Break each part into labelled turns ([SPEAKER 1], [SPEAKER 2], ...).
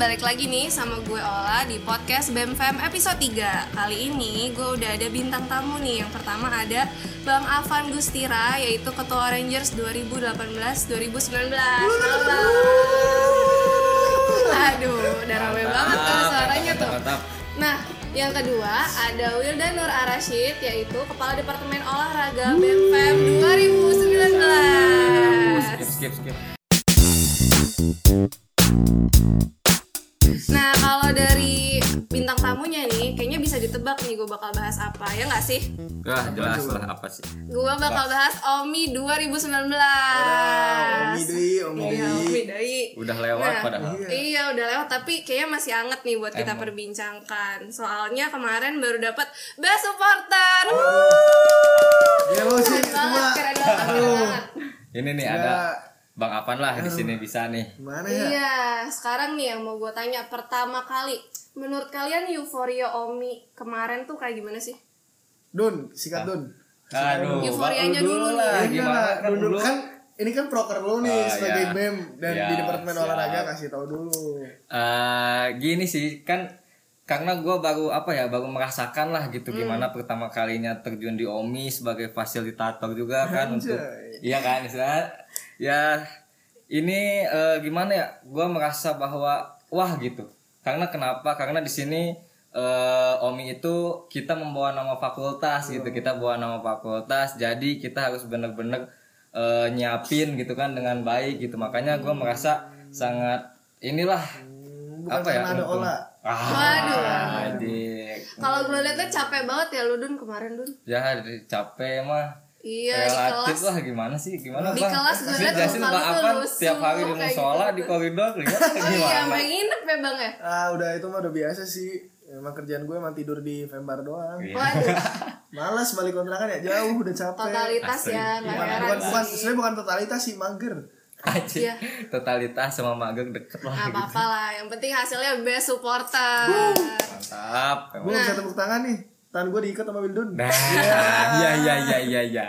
[SPEAKER 1] balik lagi nih sama gue Ola di podcast BEMFM episode 3 Kali ini gue udah ada bintang tamu nih Yang pertama ada Bang Afan Gustira Yaitu Ketua Rangers 2018-2019 Halo Bang Aduh, udah rame banget tuh suaranya tuh
[SPEAKER 2] Mantap.
[SPEAKER 1] Nah, yang kedua ada Wildan Nur Arashid yaitu Kepala Departemen Olahraga BEMFM 2019
[SPEAKER 2] Skip skip skip.
[SPEAKER 1] Nah, kalau dari bintang tamunya nih, kayaknya bisa ditebak nih gue bakal bahas apa, ya nggak sih?
[SPEAKER 2] Wah, jelas lah apa sih?
[SPEAKER 1] Gue
[SPEAKER 3] Nah.
[SPEAKER 1] bakal bahas OMI 2019.
[SPEAKER 3] Omi Dwi, Omi
[SPEAKER 1] Iya,
[SPEAKER 3] Dwi.
[SPEAKER 1] OMI doi.
[SPEAKER 2] Udah lewat
[SPEAKER 1] Nah.
[SPEAKER 2] padahal.
[SPEAKER 1] Iya udah lewat tapi kayaknya masih anget nih buat kita perbincangkan Soalnya kemarin baru dapat best supporter Wuh,
[SPEAKER 3] Gila sih
[SPEAKER 1] keren
[SPEAKER 3] semua.
[SPEAKER 1] banget, keren banget, keren
[SPEAKER 3] Aduh,
[SPEAKER 1] banget.
[SPEAKER 2] Ini nih ada Bang Apan lah di sini bisa nih.
[SPEAKER 3] gimana ya?
[SPEAKER 1] Iya, sekarang nih yang mau gue tanya pertama kali Menurut kalian euforia Omi kemarin tuh kayak gimana sih?
[SPEAKER 3] Dun, sikat Dun.
[SPEAKER 2] Aduh,
[SPEAKER 1] Euforianya
[SPEAKER 2] Bang,
[SPEAKER 1] dulu
[SPEAKER 2] lah.
[SPEAKER 1] nih.
[SPEAKER 3] Ini
[SPEAKER 2] Gimana
[SPEAKER 3] lah,
[SPEAKER 2] kan
[SPEAKER 3] Dun, Dun.
[SPEAKER 2] dulu?
[SPEAKER 3] Iya, kan ini kan proker lu
[SPEAKER 2] Ah,
[SPEAKER 3] nih sebagai
[SPEAKER 2] ya.
[SPEAKER 3] BEM dan
[SPEAKER 2] Ya,
[SPEAKER 3] di Departemen
[SPEAKER 2] siap.
[SPEAKER 3] Olahraga kasih tahu dulu.
[SPEAKER 2] Eh, gini sih kan karena gue baru apa ya baru merasakan lah gitu gimana pertama kalinya terjun di Omi sebagai fasilitator juga kan untuk iya kan istilahnya ya ini eh, gimana ya gue merasa bahwa wah gitu karena kenapa karena di sini eh, Omi itu kita membawa nama fakultas gitu kita bawa nama fakultas jadi kita harus bener-bener eh, nyiapin gitu kan dengan baik gitu makanya gue merasa sangat inilah
[SPEAKER 3] Hmm, bukan karena ada
[SPEAKER 2] ya? untung.
[SPEAKER 3] Ola.
[SPEAKER 2] ah,
[SPEAKER 1] Waduh.
[SPEAKER 2] adik
[SPEAKER 1] Kalau gue liatnya capek banget ya lu Dun kemarin Dun
[SPEAKER 2] ya adik, capek mah
[SPEAKER 1] Iya di
[SPEAKER 2] relatif
[SPEAKER 1] kelas
[SPEAKER 2] lah gimana sih gimana
[SPEAKER 1] Di
[SPEAKER 2] bang
[SPEAKER 1] kelas gue liat
[SPEAKER 2] jelasin
[SPEAKER 1] muka lu
[SPEAKER 2] bang
[SPEAKER 1] tuh
[SPEAKER 2] Apan
[SPEAKER 1] lusuh,
[SPEAKER 2] tiap hari di
[SPEAKER 1] kayak
[SPEAKER 2] musola
[SPEAKER 1] gitu.
[SPEAKER 2] di koridor lihat
[SPEAKER 1] Oh iya
[SPEAKER 2] gimana
[SPEAKER 1] sampai nginep ya bang ya
[SPEAKER 3] Ah, udah itu mah udah biasa sih. Emang kerjaan gue emang tidur di Vembar doang.
[SPEAKER 2] Iya.
[SPEAKER 1] Waduh
[SPEAKER 3] Malas balik kontrakan ya jauh udah capek.
[SPEAKER 1] totalitas ya nggak
[SPEAKER 3] Bukan,
[SPEAKER 1] heran
[SPEAKER 3] bukan, bukan, sebenarnya bukan totalitas sih, mager.
[SPEAKER 2] Aji,
[SPEAKER 1] Iya.
[SPEAKER 2] totalitas sama magang deket
[SPEAKER 1] Nggak
[SPEAKER 2] lah gitu.
[SPEAKER 1] apa-apa lah yang penting hasilnya best supporter
[SPEAKER 2] Mantap.
[SPEAKER 3] Gue bisa tepuk tangan nih. Tangan gue diikat sama Wildun.
[SPEAKER 2] Nah, iya iya iya iya iya.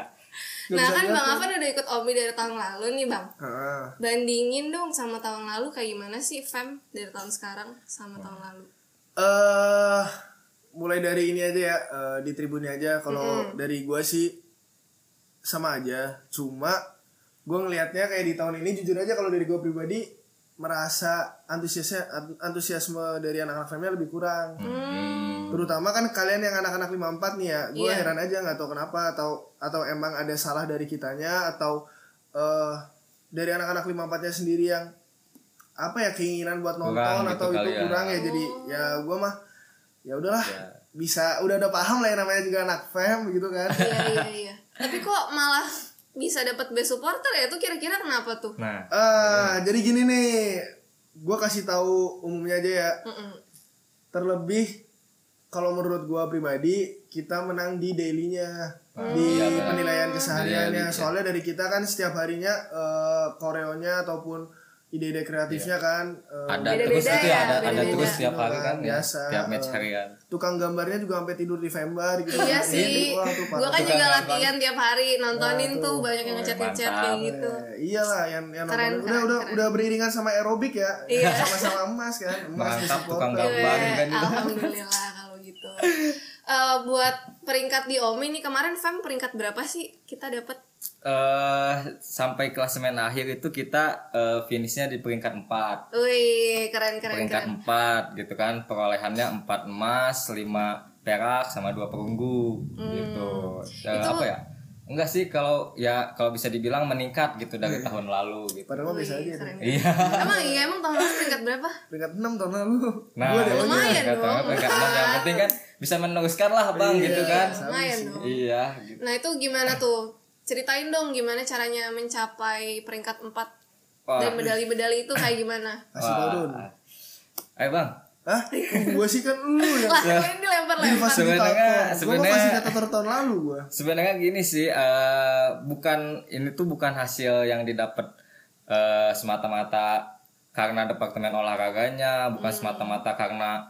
[SPEAKER 1] Nah kan Bang Afan udah ikut OMI dari tahun lalu nih Bang
[SPEAKER 2] Nah.
[SPEAKER 3] Ah.
[SPEAKER 1] Bandingin dong sama tahun lalu kayak gimana sih Fem dari tahun sekarang sama tahun lalu
[SPEAKER 3] eh mulai dari ini aja ya eh, di tribunnya aja kalau dari gua sih sama aja cuma gua ngelihatnya kayak di tahun ini jujur aja kalau dari gua pribadi merasa antusiasnya an- antusiasme dari anak-anak family lebih kurang
[SPEAKER 2] Hmm.
[SPEAKER 3] terutama kan kalian yang anak-anak 54 nih ya gua
[SPEAKER 1] Iya.
[SPEAKER 3] heran aja nggak tahu kenapa atau atau emang ada salah dari kitanya atau eh dari anak-anak 54 nya sendiri yang apa ya keinginan buat nonton
[SPEAKER 2] Kurang gitu
[SPEAKER 3] atau
[SPEAKER 2] kali
[SPEAKER 3] itu
[SPEAKER 2] ya.
[SPEAKER 3] kurang ya jadi ya gue mah ya udahlah
[SPEAKER 2] Ya.
[SPEAKER 3] bisa udah udah paham lah yang namanya juga anak fam gitu kan
[SPEAKER 1] Iya iya iya Tapi kok malah bisa dapat best supporter ya itu kira-kira kenapa tuh?
[SPEAKER 2] Nah,
[SPEAKER 3] ah jadi gini nih gue kasih tahu umumnya aja ya
[SPEAKER 1] Mm-mm.
[SPEAKER 3] terlebih kalau menurut gue pribadi kita menang di dailynya di
[SPEAKER 2] iya, benar.
[SPEAKER 3] penilaian
[SPEAKER 2] Daily,
[SPEAKER 3] kesehariannya
[SPEAKER 2] iya.
[SPEAKER 3] soalnya dari kita kan setiap harinya eh, koreonya ataupun ide-ide kreatifnya kan eh,
[SPEAKER 2] Iya. ada
[SPEAKER 1] Beda-beda
[SPEAKER 2] terus
[SPEAKER 1] ya,
[SPEAKER 2] itu ya, ada, ada
[SPEAKER 1] beda-beda.
[SPEAKER 2] terus tiap hari
[SPEAKER 3] Nah,
[SPEAKER 2] kan ya,
[SPEAKER 3] biasa,
[SPEAKER 2] tiap match kan.
[SPEAKER 3] eh,
[SPEAKER 2] harian.
[SPEAKER 3] tukang gambarnya juga sampai tidur di Vembar gitu
[SPEAKER 1] Iya
[SPEAKER 3] Jadi,
[SPEAKER 1] sih,
[SPEAKER 3] wah, tuh
[SPEAKER 1] gue kan
[SPEAKER 3] parah.
[SPEAKER 2] Suka
[SPEAKER 1] juga
[SPEAKER 2] nggak, Bang?
[SPEAKER 1] latihan tiap hari nontonin tuh banyak yang ngechat-ngechat kayak
[SPEAKER 2] mantap.
[SPEAKER 1] gitu.
[SPEAKER 3] Eh, iyalah yang yang
[SPEAKER 1] Keren,
[SPEAKER 3] nonton. udah
[SPEAKER 1] keren,
[SPEAKER 3] udah
[SPEAKER 1] keren.
[SPEAKER 3] udah beriringan sama aerobik ya.
[SPEAKER 1] Iya.
[SPEAKER 3] Sama-sama emas kan. Emas di
[SPEAKER 2] Mantap
[SPEAKER 3] supporter.
[SPEAKER 2] tukang gambar
[SPEAKER 1] Weh,
[SPEAKER 2] kan itu.
[SPEAKER 1] Alhamdulillah kalau gitu. Eh, buat peringkat di Omi nih kemarin Fem peringkat berapa sih kita dapat?
[SPEAKER 2] eh sampai klasemen akhir itu kita eh, finishnya di peringkat 4
[SPEAKER 1] Wih keren keren
[SPEAKER 2] peringkat
[SPEAKER 1] keren.
[SPEAKER 2] 4 gitu kan perolehannya 4 emas 5 perak sama dua perunggu
[SPEAKER 1] Hmm.
[SPEAKER 2] gitu Eh, apa ya enggak sih kalau ya kalau bisa dibilang meningkat gitu dari
[SPEAKER 1] Hmm.
[SPEAKER 2] tahun lalu gitu
[SPEAKER 3] Padahal mah biasa aja. itu.
[SPEAKER 2] iya
[SPEAKER 1] Emang iya emang tahun lalu peringkat berapa?
[SPEAKER 3] Peringkat 6 tahun lalu.
[SPEAKER 2] nah
[SPEAKER 3] Gua
[SPEAKER 2] itu
[SPEAKER 1] lumayan
[SPEAKER 2] peringkat
[SPEAKER 1] dong.
[SPEAKER 2] berapa, peringkat enam. yang penting kan bisa meneruskan lah bang gitu kan
[SPEAKER 1] Lumayan dong.
[SPEAKER 2] iya gitu.
[SPEAKER 1] Nah itu gimana tuh? Ceritain dong gimana caranya mencapai peringkat 4
[SPEAKER 2] Wah.
[SPEAKER 1] dan medali-medali itu kayak gimana?
[SPEAKER 3] kasih tau dun.
[SPEAKER 2] Wah. eh bang
[SPEAKER 3] Hah? Gua sih kan lu yang
[SPEAKER 1] Lah, ini dilempar-lempar.
[SPEAKER 2] Sebenarnya-
[SPEAKER 3] Gue mau
[SPEAKER 2] sebenarnya-
[SPEAKER 3] kasih data tahun lalu gua.
[SPEAKER 2] Sebenarnya gini sih, eh, bukan ini tuh bukan hasil yang didapat eh, semata-mata karena departemen olahraganya, bukan semata-mata karena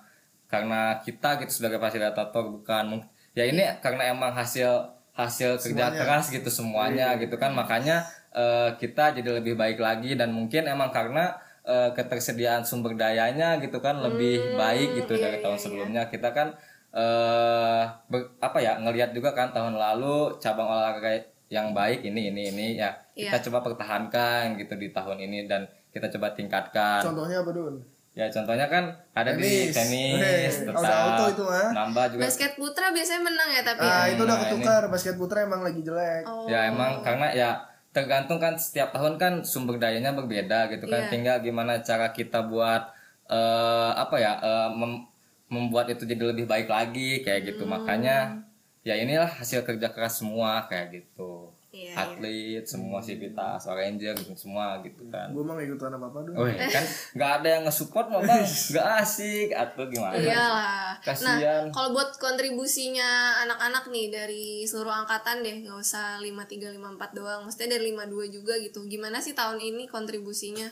[SPEAKER 2] karena kita gitu sebagai fasilitator bukan. Mung- Ya ini karena emang hasil hasil kerja keras gitu semuanya gitu kan, makanya eh, kita jadi lebih baik lagi dan mungkin emang karena eh, ketersediaan sumber dayanya gitu kan lebih baik gitu dari tahun sebelumnya kita kan eh ber- apa ya ngelihat juga kan tahun lalu cabang olahraga yang baik ini ini ini ya kita coba pertahankan gitu di tahun ini dan kita coba tingkatkan
[SPEAKER 3] Contohnya apa dun?
[SPEAKER 2] ya contohnya kan ada di
[SPEAKER 3] Tenis.
[SPEAKER 2] tenis
[SPEAKER 3] Hei,
[SPEAKER 2] tetap
[SPEAKER 3] auto-auto itu ah. mah.
[SPEAKER 2] nambah juga
[SPEAKER 1] Basket putra biasanya menang ya tapi
[SPEAKER 3] Ah itu udah
[SPEAKER 2] nah,
[SPEAKER 3] ketukar basket putra emang lagi jelek.
[SPEAKER 1] oh
[SPEAKER 2] Ya emang karena ya tergantung kan setiap tahun kan sumber dayanya berbeda gitu
[SPEAKER 1] Iya.
[SPEAKER 2] kan. Tinggal gimana cara kita buat eh apa ya eh, mem- membuat itu jadi lebih baik lagi kayak gitu.
[SPEAKER 1] Hmm.
[SPEAKER 2] Makanya ya inilah hasil kerja keras semua kayak gitu.
[SPEAKER 1] Iya,
[SPEAKER 2] Atlet semua sivitas, Ranger gitu, semua gitu kan.
[SPEAKER 3] Gue mah nggak ikutan apa apa dun.
[SPEAKER 2] Wih, kan nggak ada yang nge-support mah bang, nggak asik atau gimana?
[SPEAKER 1] Iya. Iyalah.
[SPEAKER 2] Kasian.
[SPEAKER 1] Nah, kalau buat kontribusinya anak-anak nih dari seluruh angkatan deh, nggak usah 53 54 doang, maksudnya dari 52 juga gitu. Gimana sih tahun ini kontribusinya?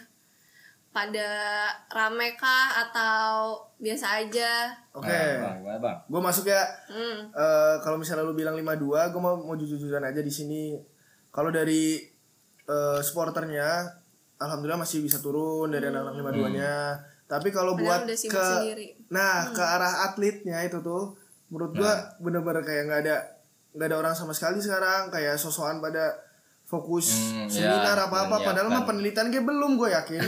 [SPEAKER 1] Pada rame kah atau biasa aja?
[SPEAKER 3] Oke.
[SPEAKER 2] Nah, bang, gimana bang?
[SPEAKER 3] Gue masuk ya.
[SPEAKER 1] Hmm.
[SPEAKER 3] Eh, kalau misalnya lu bilang 52, gue mau mau jujur-jujuran aja di sini. Kalau dari eh, supporternya, alhamdulillah masih bisa turun dari anak-anak 52-nya. Tapi kalau
[SPEAKER 1] Hmm.
[SPEAKER 3] buat
[SPEAKER 1] Padahal udah sibuk
[SPEAKER 3] ke
[SPEAKER 1] sendiri. Hmm.
[SPEAKER 3] nah ke arah atletnya itu tuh menurut
[SPEAKER 1] Nah.
[SPEAKER 3] gua bener-bener kayak nggak ada nggak ada orang sama sekali sekarang kayak sosokan pada fokus
[SPEAKER 2] Hmm,
[SPEAKER 3] seminar
[SPEAKER 2] ya,
[SPEAKER 3] apa apa padahal mah
[SPEAKER 2] menyiapkan.
[SPEAKER 3] penelitian kayak belum gue yakin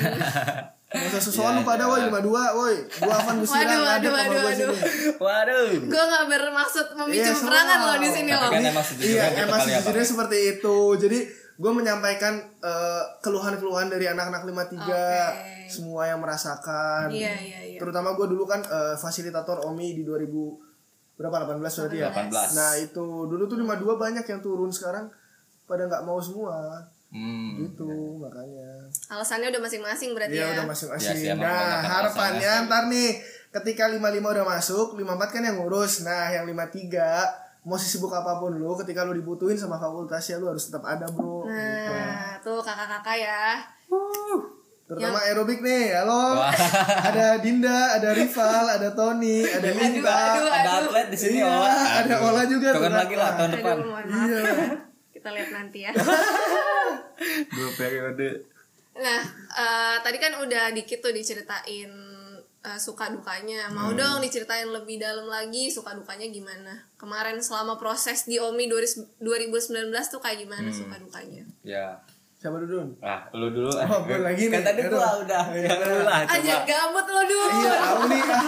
[SPEAKER 3] Masa sosokan lu pada woi 52 woi gua akan gusira
[SPEAKER 1] Iya, Waduh,
[SPEAKER 3] ngadep
[SPEAKER 1] waduh,
[SPEAKER 3] sama
[SPEAKER 1] waduh,
[SPEAKER 3] gua
[SPEAKER 1] waduh.
[SPEAKER 3] sini
[SPEAKER 2] Waduh.
[SPEAKER 1] Gue nggak bermaksud memicu
[SPEAKER 3] Iya,
[SPEAKER 1] peperangan
[SPEAKER 3] soal.
[SPEAKER 1] loh di sini
[SPEAKER 2] Tapi
[SPEAKER 1] loh.
[SPEAKER 2] kan emang sejujurnya
[SPEAKER 3] Iya,
[SPEAKER 2] gitu
[SPEAKER 3] emang
[SPEAKER 2] kali ya, Bang.
[SPEAKER 3] sejujurnya seperti itu. Jadi gue menyampaikan eh, keluhan-keluhan dari anak-anak 53 semua yang merasakan.
[SPEAKER 1] Iya, iya, iya.
[SPEAKER 3] Terutama gue dulu kan eh, fasilitator OMI di 2000 berapa 18 berarti ya.
[SPEAKER 2] 18.
[SPEAKER 3] Nah, itu dulu tuh 52 banyak yang turun sekarang pada nggak mau semua
[SPEAKER 2] Hmm.
[SPEAKER 3] gitu makanya.
[SPEAKER 1] Alasannya udah masing-masing berarti
[SPEAKER 3] Iya
[SPEAKER 1] ya.
[SPEAKER 3] udah
[SPEAKER 2] Iya
[SPEAKER 3] masing-masing.
[SPEAKER 2] sih, emang
[SPEAKER 3] nah,
[SPEAKER 2] kebanyakan
[SPEAKER 3] harapannya ntar nih ketika 55 udah masuk, 54 kan yang ngurus. Nah, yang 53 mau sibuk apapun lu ketika lu dibutuhin sama fakultas ya lu harus tetap ada, Bro.
[SPEAKER 1] Nah, tuh kakak-kakak ya.
[SPEAKER 3] Terutama aerobik nih. Halo. ada Dinda, ada Rival, ada Tony, ada
[SPEAKER 1] Aduh,
[SPEAKER 3] Inta.
[SPEAKER 1] aduh,
[SPEAKER 2] ada
[SPEAKER 1] aduh.
[SPEAKER 2] atlet di sini
[SPEAKER 3] Iya,
[SPEAKER 2] Ola.
[SPEAKER 3] ada
[SPEAKER 2] Aduh.
[SPEAKER 3] Ola juga
[SPEAKER 2] Turun
[SPEAKER 3] ternyata.
[SPEAKER 2] lagi lah tahun depan.
[SPEAKER 1] Aduh, mohon maaf ya. Kita lihat nanti ya.
[SPEAKER 2] Dua periode.
[SPEAKER 1] Nah, eh, tadi kan udah dikit tuh diceritain eh, suka dukanya. Mau
[SPEAKER 3] Hmm.
[SPEAKER 1] dong diceritain lebih dalam lagi suka dukanya gimana? Kemarin selama proses di OMI 2019 tuh kayak gimana
[SPEAKER 3] Hmm.
[SPEAKER 1] suka dukanya?
[SPEAKER 2] Ya.
[SPEAKER 3] Siapa dulu? Dun?
[SPEAKER 2] Ah, lu dulu. eh.
[SPEAKER 3] Oh, gua lagi
[SPEAKER 2] Kan
[SPEAKER 3] nih.
[SPEAKER 2] tadi gua
[SPEAKER 3] Aduh.
[SPEAKER 2] udah. Ya, lu lah coba.
[SPEAKER 1] Aja gabut lo dulu.
[SPEAKER 3] Iya, tahu nih. ah.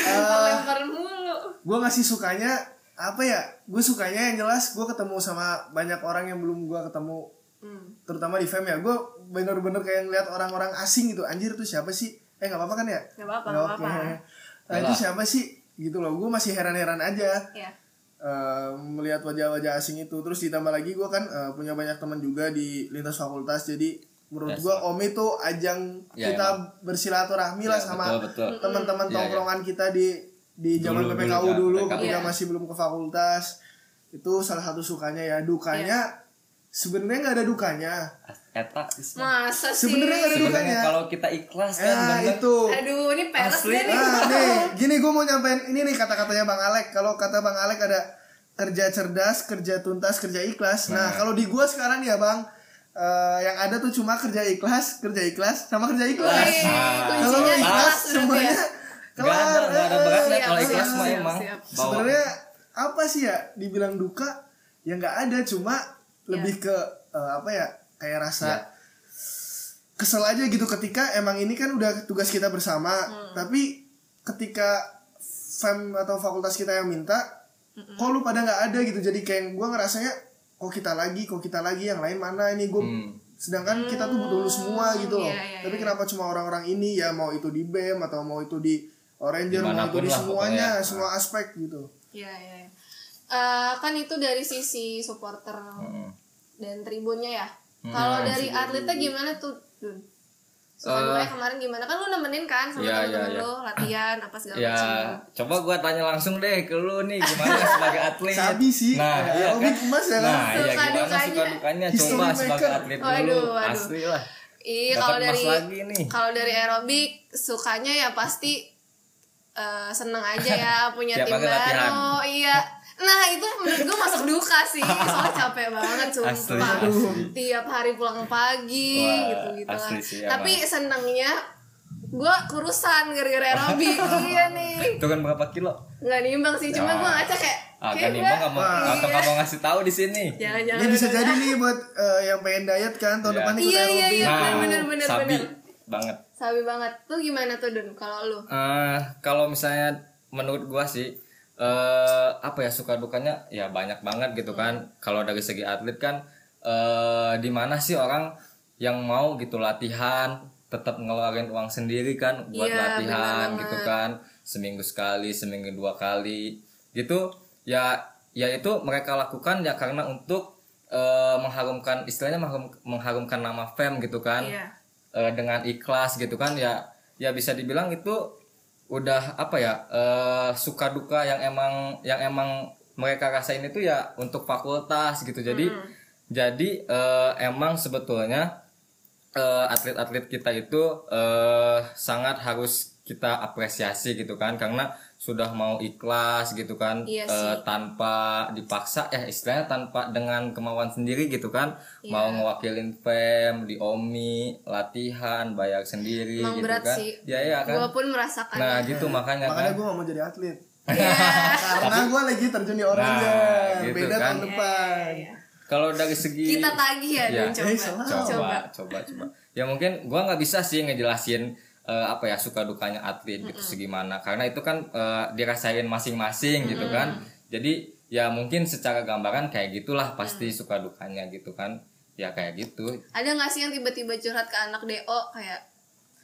[SPEAKER 1] Lempar-lempar mulu.
[SPEAKER 3] gue ngasih sukanya apa ya gue sukanya yang jelas gue ketemu sama banyak orang yang belum gue ketemu
[SPEAKER 1] Hmm.
[SPEAKER 3] terutama di fam ya gue bener-bener kayak ngeliat orang-orang asing gitu anjir tuh siapa sih eh nggak apa-apa kan ya
[SPEAKER 1] Nggak apa-apa,
[SPEAKER 3] Nggak
[SPEAKER 1] nggak
[SPEAKER 3] oke.
[SPEAKER 1] apa-apa.
[SPEAKER 3] Nah, itu siapa sih gitu loh gue masih heran-heran aja
[SPEAKER 1] Ya.
[SPEAKER 3] eh, melihat wajah-wajah asing itu terus ditambah lagi gue kan eh, punya banyak teman juga di lintas fakultas jadi menurut
[SPEAKER 2] Yes,
[SPEAKER 3] gue om itu ajang
[SPEAKER 2] Ya,
[SPEAKER 3] kita bersilaturahmi lah
[SPEAKER 2] Ya,
[SPEAKER 3] sama
[SPEAKER 2] betul, betul.
[SPEAKER 3] teman-teman
[SPEAKER 2] Mm-mm. Ya, ya.
[SPEAKER 3] tongkrongan kita di di zaman
[SPEAKER 2] Dulu,
[SPEAKER 3] PPKU
[SPEAKER 2] dulu,
[SPEAKER 3] dulu,
[SPEAKER 2] kan, PPKU.
[SPEAKER 3] ketika
[SPEAKER 1] Iya.
[SPEAKER 3] masih belum ke fakultas itu salah satu sukanya ya
[SPEAKER 1] Iya.
[SPEAKER 3] dukanya sebenarnya nggak ada dukanya
[SPEAKER 2] Eta.
[SPEAKER 1] Masa sih?
[SPEAKER 3] sebenarnya nggak ada
[SPEAKER 2] Sebenarnya
[SPEAKER 3] dukanya
[SPEAKER 2] kalau kita ikhlas kan
[SPEAKER 3] nah
[SPEAKER 2] bener.
[SPEAKER 3] kan ya. itu
[SPEAKER 1] Aduh, ini peres
[SPEAKER 2] Asli.
[SPEAKER 1] deh nih.
[SPEAKER 3] Nah, nih, gini gue mau nyampein ini nih kata-katanya Bang Alek. Kalau kata Bang Alek ada kerja cerdas, kerja tuntas, kerja ikhlas. Nah, kalau di gua sekarang ya Bang, eh, yang ada tuh cuma kerja ikhlas, kerja ikhlas, sama kerja ikhlas. Nah,
[SPEAKER 1] Wih,
[SPEAKER 3] Kalau lu
[SPEAKER 1] kuncinya
[SPEAKER 3] ikhlas
[SPEAKER 1] kelas berarti
[SPEAKER 3] semuanya
[SPEAKER 1] ya.
[SPEAKER 2] Gak ada,
[SPEAKER 3] kelar. eh, iya,
[SPEAKER 2] gak ada beratnya
[SPEAKER 1] Siap,
[SPEAKER 2] kalau
[SPEAKER 1] siap,
[SPEAKER 2] ikhlas mah
[SPEAKER 1] siap,
[SPEAKER 2] emang.
[SPEAKER 1] siap.
[SPEAKER 2] Bawa.
[SPEAKER 3] Sebenarnya apa sih ya dibilang duka? Ya nggak ada, cuma lebih ke eh, apa ya? Kayak rasa
[SPEAKER 2] Ya.
[SPEAKER 3] kesel aja gitu ketika emang ini kan udah tugas kita bersama
[SPEAKER 1] Hmm.
[SPEAKER 3] tapi ketika fem atau fakultas kita yang minta kok lu pada nggak ada gitu jadi kayak gue ngerasanya kok kita lagi kok kita lagi yang lain mana ini gue
[SPEAKER 2] Hmm.
[SPEAKER 3] sedangkan kita tuh butuh lu semua gitu loh
[SPEAKER 1] iya, iya,
[SPEAKER 3] tapi kenapa cuma orang-orang ini ya mau itu di bem atau mau itu di oranger mau itu
[SPEAKER 2] Dimanapun
[SPEAKER 3] di
[SPEAKER 2] lah
[SPEAKER 3] semuanya
[SPEAKER 2] pokoknya. Nah.
[SPEAKER 3] semua aspek gitu
[SPEAKER 1] Iya, iya. iya. Eh, kan itu dari sisi supporter
[SPEAKER 3] Hmm.
[SPEAKER 2] Mm.
[SPEAKER 1] dan tribunnya ya.
[SPEAKER 2] Hmm,
[SPEAKER 1] Kalau dari atletnya gimana tuh, Dun? Suka dukanya kemarin gimana? Kan lu nemenin kan sama
[SPEAKER 2] Eh, Iya,
[SPEAKER 1] temen-temen
[SPEAKER 2] iya,
[SPEAKER 1] lu latihan apa segala
[SPEAKER 2] Ya,
[SPEAKER 1] macam.
[SPEAKER 2] coba gua tanya langsung deh ke lu nih gimana sebagai atlet.
[SPEAKER 3] Sabi sih.
[SPEAKER 2] Nah,
[SPEAKER 3] Eh,
[SPEAKER 2] iya
[SPEAKER 3] Obi
[SPEAKER 2] kan.
[SPEAKER 3] emas ya,
[SPEAKER 2] Nah,
[SPEAKER 1] kan?
[SPEAKER 2] iya
[SPEAKER 1] Suka
[SPEAKER 2] gimana
[SPEAKER 1] dukanya.
[SPEAKER 2] suka dukanya
[SPEAKER 3] History
[SPEAKER 2] coba sebagai
[SPEAKER 3] maker. Iya,
[SPEAKER 2] atlet
[SPEAKER 1] Waduh,
[SPEAKER 2] dulu.
[SPEAKER 1] waduh.
[SPEAKER 2] Asli lah.
[SPEAKER 1] Ih,
[SPEAKER 2] Dapat
[SPEAKER 1] kalau
[SPEAKER 2] emas
[SPEAKER 1] dari
[SPEAKER 2] lagi nih.
[SPEAKER 1] kalau dari aerobik sukanya ya pasti eh, seneng aja ya punya
[SPEAKER 2] Tiap
[SPEAKER 1] tim
[SPEAKER 2] hari latihan.
[SPEAKER 1] baru. Iya. Nah, itu menurut gue masuk duka sih. Soalnya capek banget sumpah.
[SPEAKER 2] Asli, asli.
[SPEAKER 1] Tiap hari pulang pagi
[SPEAKER 2] Wah,
[SPEAKER 1] gitu-gitu lah.
[SPEAKER 2] asli sih,
[SPEAKER 1] Tapi senengnya gue kurusan gara-gara aerobik iya nih
[SPEAKER 2] Turun kan berapa kilo?
[SPEAKER 1] nggak nimbang sih cuma
[SPEAKER 2] Ah.
[SPEAKER 1] gue ngaca kayak
[SPEAKER 2] Agak
[SPEAKER 1] kayak
[SPEAKER 2] nih,
[SPEAKER 1] gua- Iya.
[SPEAKER 2] Bang, kamu atau kamu ngasih tahu di sini.
[SPEAKER 1] jangan jangan
[SPEAKER 3] Ini Iya, bisa jadi nih buat eh, yang pengen diet kan tahun
[SPEAKER 2] Iya.
[SPEAKER 3] depan ikut
[SPEAKER 1] Iya, iya,
[SPEAKER 3] aerobik.
[SPEAKER 1] iya. bener, bener,
[SPEAKER 2] Nah, sabi
[SPEAKER 1] bener.
[SPEAKER 2] banget.
[SPEAKER 1] sabi banget tuh gimana tuh Dun kalau lu
[SPEAKER 2] Eh, kalau misalnya menurut gua sih eh apa ya suka dukanya ya banyak banget gitu
[SPEAKER 1] Hmm.
[SPEAKER 2] kan. Kalau dari segi atlet kan eh di mana sih orang yang mau gitu latihan tetap ngeluarin uang sendiri kan buat
[SPEAKER 1] Iya,
[SPEAKER 2] latihan
[SPEAKER 1] bener
[SPEAKER 2] gitu kan seminggu sekali seminggu dua kali gitu ya ya itu mereka lakukan ya karena untuk eh, mengharumkan istilahnya mengharum- mengharumkan nama fam gitu kan
[SPEAKER 1] Iya.
[SPEAKER 2] eh, dengan ikhlas gitu kan ya ya bisa dibilang itu udah apa ya eh, suka duka yang emang yang emang mereka rasain itu ya untuk fakultas gitu jadi jadi eh, emang sebetulnya eh, atlet-atlet kita itu eh, sangat harus kita apresiasi gitu kan karena sudah mau ikhlas gitu kan
[SPEAKER 1] Iya
[SPEAKER 2] eh, tanpa dipaksa ya istilahnya tanpa dengan kemauan sendiri gitu kan
[SPEAKER 1] Iya.
[SPEAKER 2] mau ngewakilin fam di omi latihan bayar sendiri
[SPEAKER 1] Emang
[SPEAKER 2] gitu
[SPEAKER 1] berat
[SPEAKER 2] kan
[SPEAKER 1] sih.
[SPEAKER 2] ya ya kan
[SPEAKER 1] gue pun merasakan
[SPEAKER 2] nah gitu makanya kan
[SPEAKER 3] Makanya gue gak mau jadi atlet.
[SPEAKER 1] Iya.
[SPEAKER 3] Karena gue lagi terjun di oranye.
[SPEAKER 2] Nah, gitu kan.
[SPEAKER 3] Beda tahun depan.
[SPEAKER 1] Iya,
[SPEAKER 2] kalau dari segi
[SPEAKER 1] kita tagih ya Dun
[SPEAKER 2] Iya.
[SPEAKER 1] coba
[SPEAKER 3] Eh, salah.
[SPEAKER 2] coba coba coba ya mungkin gua nggak bisa sih ngejelasin eh, apa ya suka dukanya atlet gitu segimana karena itu kan eh, dirasain masing-masing gitu kan jadi ya mungkin secara gambaran kayak gitulah pasti
[SPEAKER 1] Mm.
[SPEAKER 2] suka dukanya gitu kan ya kayak gitu
[SPEAKER 1] ada nggak sih yang tiba-tiba curhat ke anak do kayak